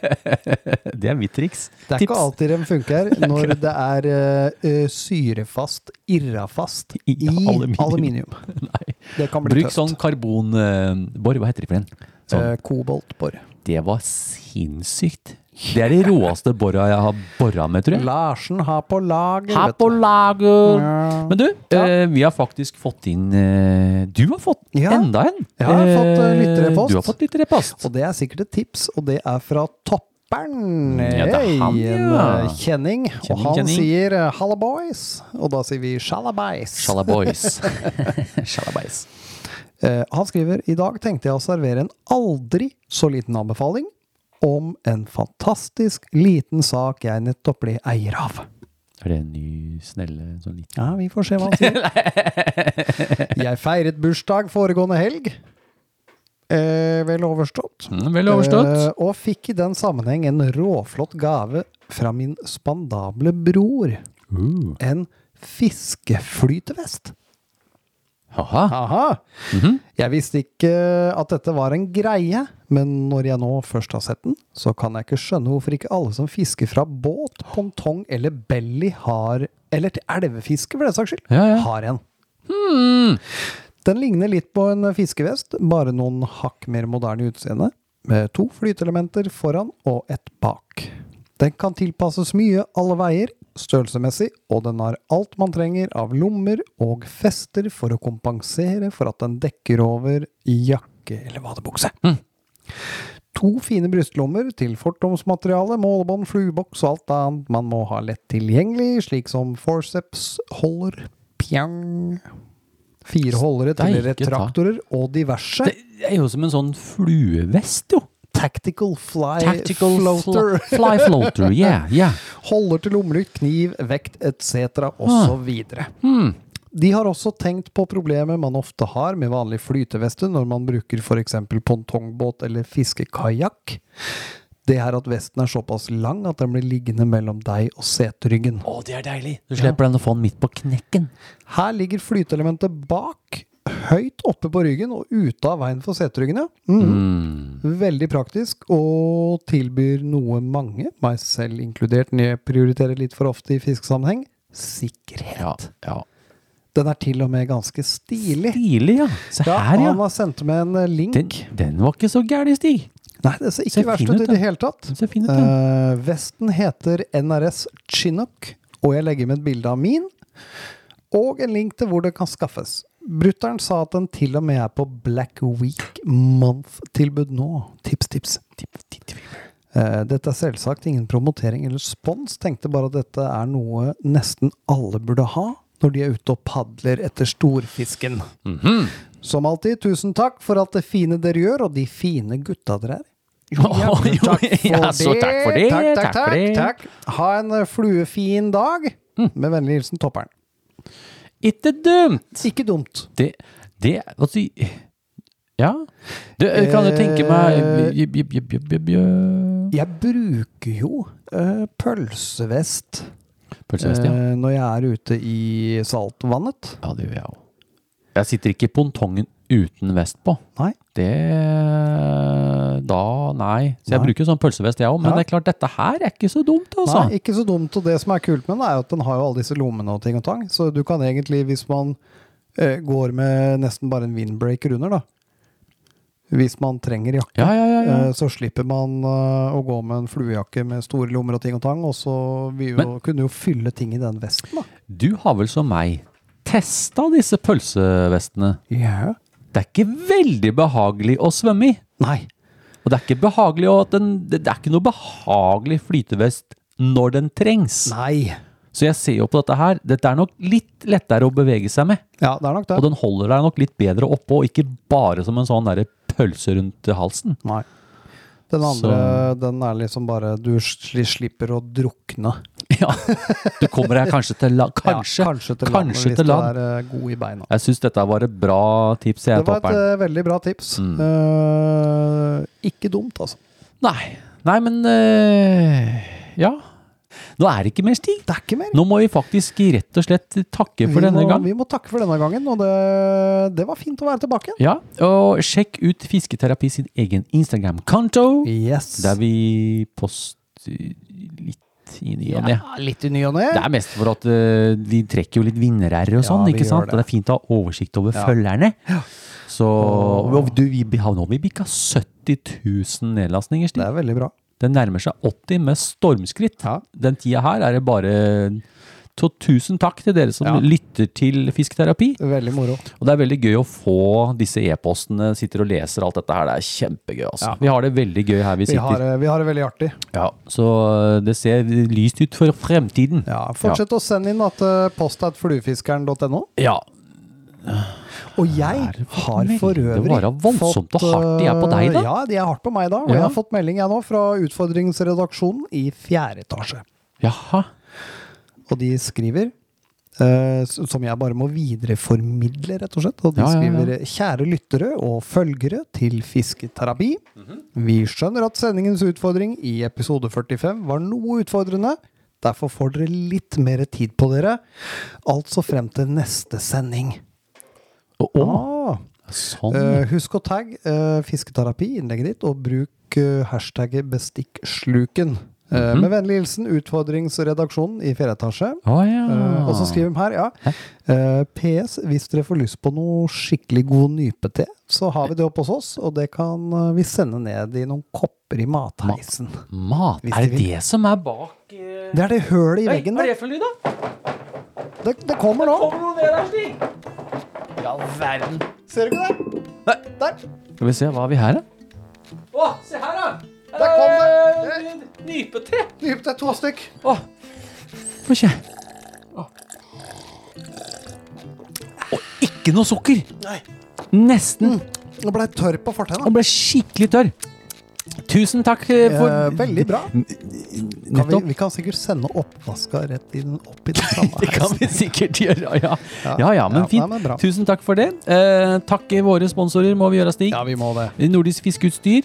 Det er mitt triks.
Det er ikke alltid den funker når det er eh, eh, syrefast, irrafast
I
i
aluminium.
aluminium.
Nei.
Det kan bli
Bruk
tøft.
sånn karbon... eh, Borr, hva heter det for en? Sånn.
Eh, koboltbor.
Det var sinnssykt. Det er de råeste borra jeg har borra med, tror jeg.
Larsen har på lager.
Her
vet
på
du.
lager! Men du,
Ja.
eh, vi har faktisk fått inn eh, Du har fått
Ja.
enda en!
Jeg har fått, eh,
Eh,
lytterepost.
Du har fått lytterepost.
Og det er sikkert et tips, og det er fra Topperen.
Ja, det er han,
Hei, en
ja.
eh, kjenning.
Kjenning,
Og han
kjenning.
sier eh, 'halla, boys', og da sier vi 'shalla, boys'.
Shalaboys. Shalabais.
Eh, han skriver i dag tenkte jeg å servere en aldri så liten anbefaling om en fantastisk liten sak jeg nettopp ble eier av.
Er det en ny, snelle sånn liten
Ja, vi får se hva han sier. Jeg feiret bursdag foregående helg. Eh, vel overstått.
Mm, Vel overstått.
Eh, og fikk i den sammenheng en råflott gave fra min spandable bror. En fiskeflytevest.
Haha.
Aha. Jeg visste ikke eh, at dette var en greie, men når jeg nå først har sett den, så kan jeg ikke skjønne hvorfor ikke alle som fisker fra båt, pontong eller belly har Eller til elvefiske, for den saks skyld,
Ja, ja.
har en. Den ligner litt på en fiskevest, bare noen hakk mer moderne i utseende, med to flyteelementer foran og ett bak. Den kan tilpasses mye alle veier, størrelsesmessig, og den har alt man trenger av lommer og fester for å kompensere for at den dekker over i jakke eller vadebukse. To fine brystlommer til fortomsmateriale, målebånd, flueboks og alt annet man må ha lett tilgjengelig, slik som forceps, holder, pjang Fire holdere til
Steike ta.
retraktorer og diverse.
Det er jo som en sånn fluevest, jo.
Tactical fly
Tactical
floater.
Fly, fly floater, yeah, yeah.
Holder til lommelykt, kniv, vekt etc. osv. De har også tenkt på problemet man ofte har med vanlig flyteveste når man bruker f.eks. pongtongbåt eller fiskekajakk. Det er at vesten er såpass lang at den blir liggende mellom deg og seteryggen.
Å, det er deilig. Du slipper den å få den midt på knekken.
Her ligger flyteelementet bak, høyt oppe på ryggen og ute av veien for seteryggene. Mhm. Veldig praktisk, og tilbyr noe mange, meg selv inkludert, nedprioriterer litt for ofte i fiskesammenheng, sikkerhet.
Ja, ja.
Den er til og med ganske stilig.
Stilig, ja. Se
Ja,
her,
Han
ja.
har sendt med en eh, link.
Den, den var ikke så gæren, Stig.
Nei, det ser
ser
ikke verst
fin
ut
ut,
i
den.
det hele tatt.
Den ser fin ut, den.
Eh, vesten heter NRS Chinook, og jeg legger med et bilde av min, og en link til hvor det kan skaffes. Brutter'n sa at den til og med er på Black Week Month-tilbud nå. Tips, tips. Eh, dette er selvsagt ingen promotering eller spons, tenkte bare at dette er noe nesten alle burde ha når de er ute og padler etter storfisken. Mhm. Som alltid, tusen takk for alt det fine dere gjør, og de fine gutta dere er. Jo,
ja, men takk for
ja, så
det.
takk for det. Mm.
Takk, takk, takk,
Ha en eh, fluefin dag. Med vennlig hilsen Topperen.
Ikke dumt.
Ikke dumt.
Det, det altså, Ja. Du, eh, kan du tenke meg jib, jib, jib, jib, jib, jib.
Jeg bruker jo eh, pølsevest
Pølsevest, ja.
eh, når jeg er ute i saltvannet.
Ja, det gjør jeg òg. Jeg sitter ikke i pontongen uten vest på.
Nei.
Det Da, nei. Så jeg
Nei.
bruker sånn pølsevest, jeg òg. Men
Ja.
det er klart, dette her er ikke så dumt, altså.
Nei, ikke så dumt. Og det som er kult med den, er jo at den har jo alle disse lommene og ting og tang. Så du kan egentlig, hvis man eh, går med nesten bare en windbreaker under, da Hvis man trenger jakke,
Ja, ja, ja, ja.
eh, så slipper man eh, å gå med en fluejakke med store lommer og ting og tang, og så vil jo,
Men-
kunne du jo fylle ting i den vesten, da.
Du har vel som meg testa disse pølsevestene. Det er ikke veldig behagelig å svømme i.
Nei.
Og det er ikke behagelig å at den, det, det er ikke noe behagelig flytevest når den trengs.
Nei.
Så jeg ser jo på dette her. Dette er nok litt lettere å bevege seg med.
Ja, det er nok
Og
det.
den holder deg nok litt bedre oppå, og ikke bare som en sånn derre pølse rundt halsen.
Nei. Den andre, den er liksom bare Du sli- slipper å drukne.
Ja. Du kommer deg kanskje til land. Kanskje.
Ja, kanskje til land.
kanskje
hvis
til
du
land.
er eh, god i beina.
Jeg syns dette var et bra tips, jeg, Mm.
Det var et
topperen.
eh, veldig bra tips. Eh, ikke dumt, altså.
Nei. Nei, men øh, Ja. Nå er det ikke mer stig.
Det er ikke mer.
Nå må vi faktisk rett og slett takke for
vi,
denne
må,
gang.
vi må takke for denne gangen, og det, det var fint å være tilbake igjen.
Ja, og sjekk ut Fisketerapi sin egen Instagram-konto,
Yes.
der vi poster litt i ny og ne.
ja, litt i ny og ne.
Det er mest for at øh, vi trekker jo litt vinnere og sånn,
vi
ikke sant?
gjør
Det.
det.
det er fint å ha oversikt over følgerne. Så og du, vi har nå vi bikka 70 000 nedlastninger,
Det
Stig.
er veldig bra.
Den nærmer seg 80 med stormskritt.
Ja.
Den tida her er det bare Så tusen takk til dere som
Ja.
lytter til Fisketerapi.
Veldig moro.
Og det er veldig gøy å få disse e-postene, sitter og leser alt dette her. Det er kjempegøy, altså. Vi har det veldig gøy her vi
Vi
sitter.
har, eh, vi har det veldig artig.
ja. Så øh, det ser lyst ut for fremtiden.
Ja, fortsett å sende inn at eh, postatfluefiskeren.no.
Ja.
Og jeg
det for
har
melding?
for øvrig
Det var voldsomt og hardt de er på deg i dag.
eh, Ja, de er hardt på meg i dag. Og
Ja.
jeg har fått melding jeg nå fra Utfordringsredaksjonen i fjerde etasje.
Jaha.
Og de skriver eh, s- som jeg bare må videreformidle, rett og slett. Og de
Ja, ja, ja.
skriver kjære lyttere og følgere til Fisketerapi. Vi skjønner at sendingens utfordring i episode 45 var noe utfordrende. Derfor får dere litt mer tid på dere. Altså frem til neste sending.
Å, å,
Ah.
sånn.
Eh, husk å tagge eh, fisketerapi i innlegget ditt, og bruk eh, hashtagget bestikksluken. Eh,
Mhm.
Med vennlig hilsen utfordringsredaksjonen i fjerde etasje.
Å ja.
Eh, og så skriver de her, ja. eh, PS, hvis dere får lyst på noe skikkelig god nypete, så har vi det oppe hos oss, og det kan eh, vi sende ned i noen kopper i matheisen.
Mat.
Hvis
Er det
de vil.
det som er bak eh,
Det er det hølet i
Oi,
veggen
Hva er
der.
det for lyd, da?
Det, det kommer nå.
Kommer noe ned der, Stig? Ja, verden.
Ser du ikke det?
Nei.
Der.
Skal vi se, hva har vi her, da? Å, se her, da!
Der kom det.
Eh, Nypete.
Nypete to stykk.
Å, få se. Å, ikke noe sukker.
Nei.
Nesten.
Mm. Nå ble jeg tørr på fortenna.
Den ble skikkelig tørr. Tusen takk eh, for
Eh, veldig bra. Kan vi,
Nettopp.
vi kan sikkert sende oppvaska rett inn, opp i den samme
Det kan
heisen.
vi sikkert gjøre, ja. Ja ja, men
Ja,
fint.
nei, men bra.
Tusen takk for det. Eh, takk eh, våre sponsorer, må vi gjøre, Stig.
Ja, vi må det.
Nordisk Fiskeutstyr.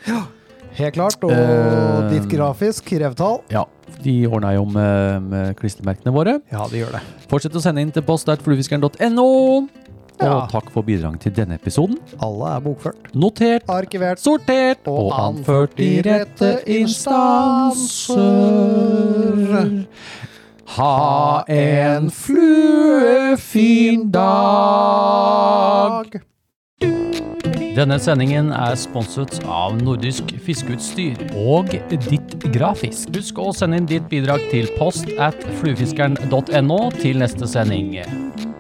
Helt klart. Og
Eh,
ditt grafisk revtall.
Ja, de ordna jo med, med klistremerkene våre.
Ja, det gjør det.
Fortsett å sende inn til post der fluefiskeren.no. Og
Ja.
takk for bidrag til denne episoden.
Alle er bokført.
Notert,
Arkivert.
sortert
Og
og anført i rette instanser. Ha en fluefin dag! Denne sendingen er sponset av Nordisk Fiskeutstyr og Ditt Grafisk. Husk å sende inn ditt bidrag til post at fluefiskeren.no til neste sending.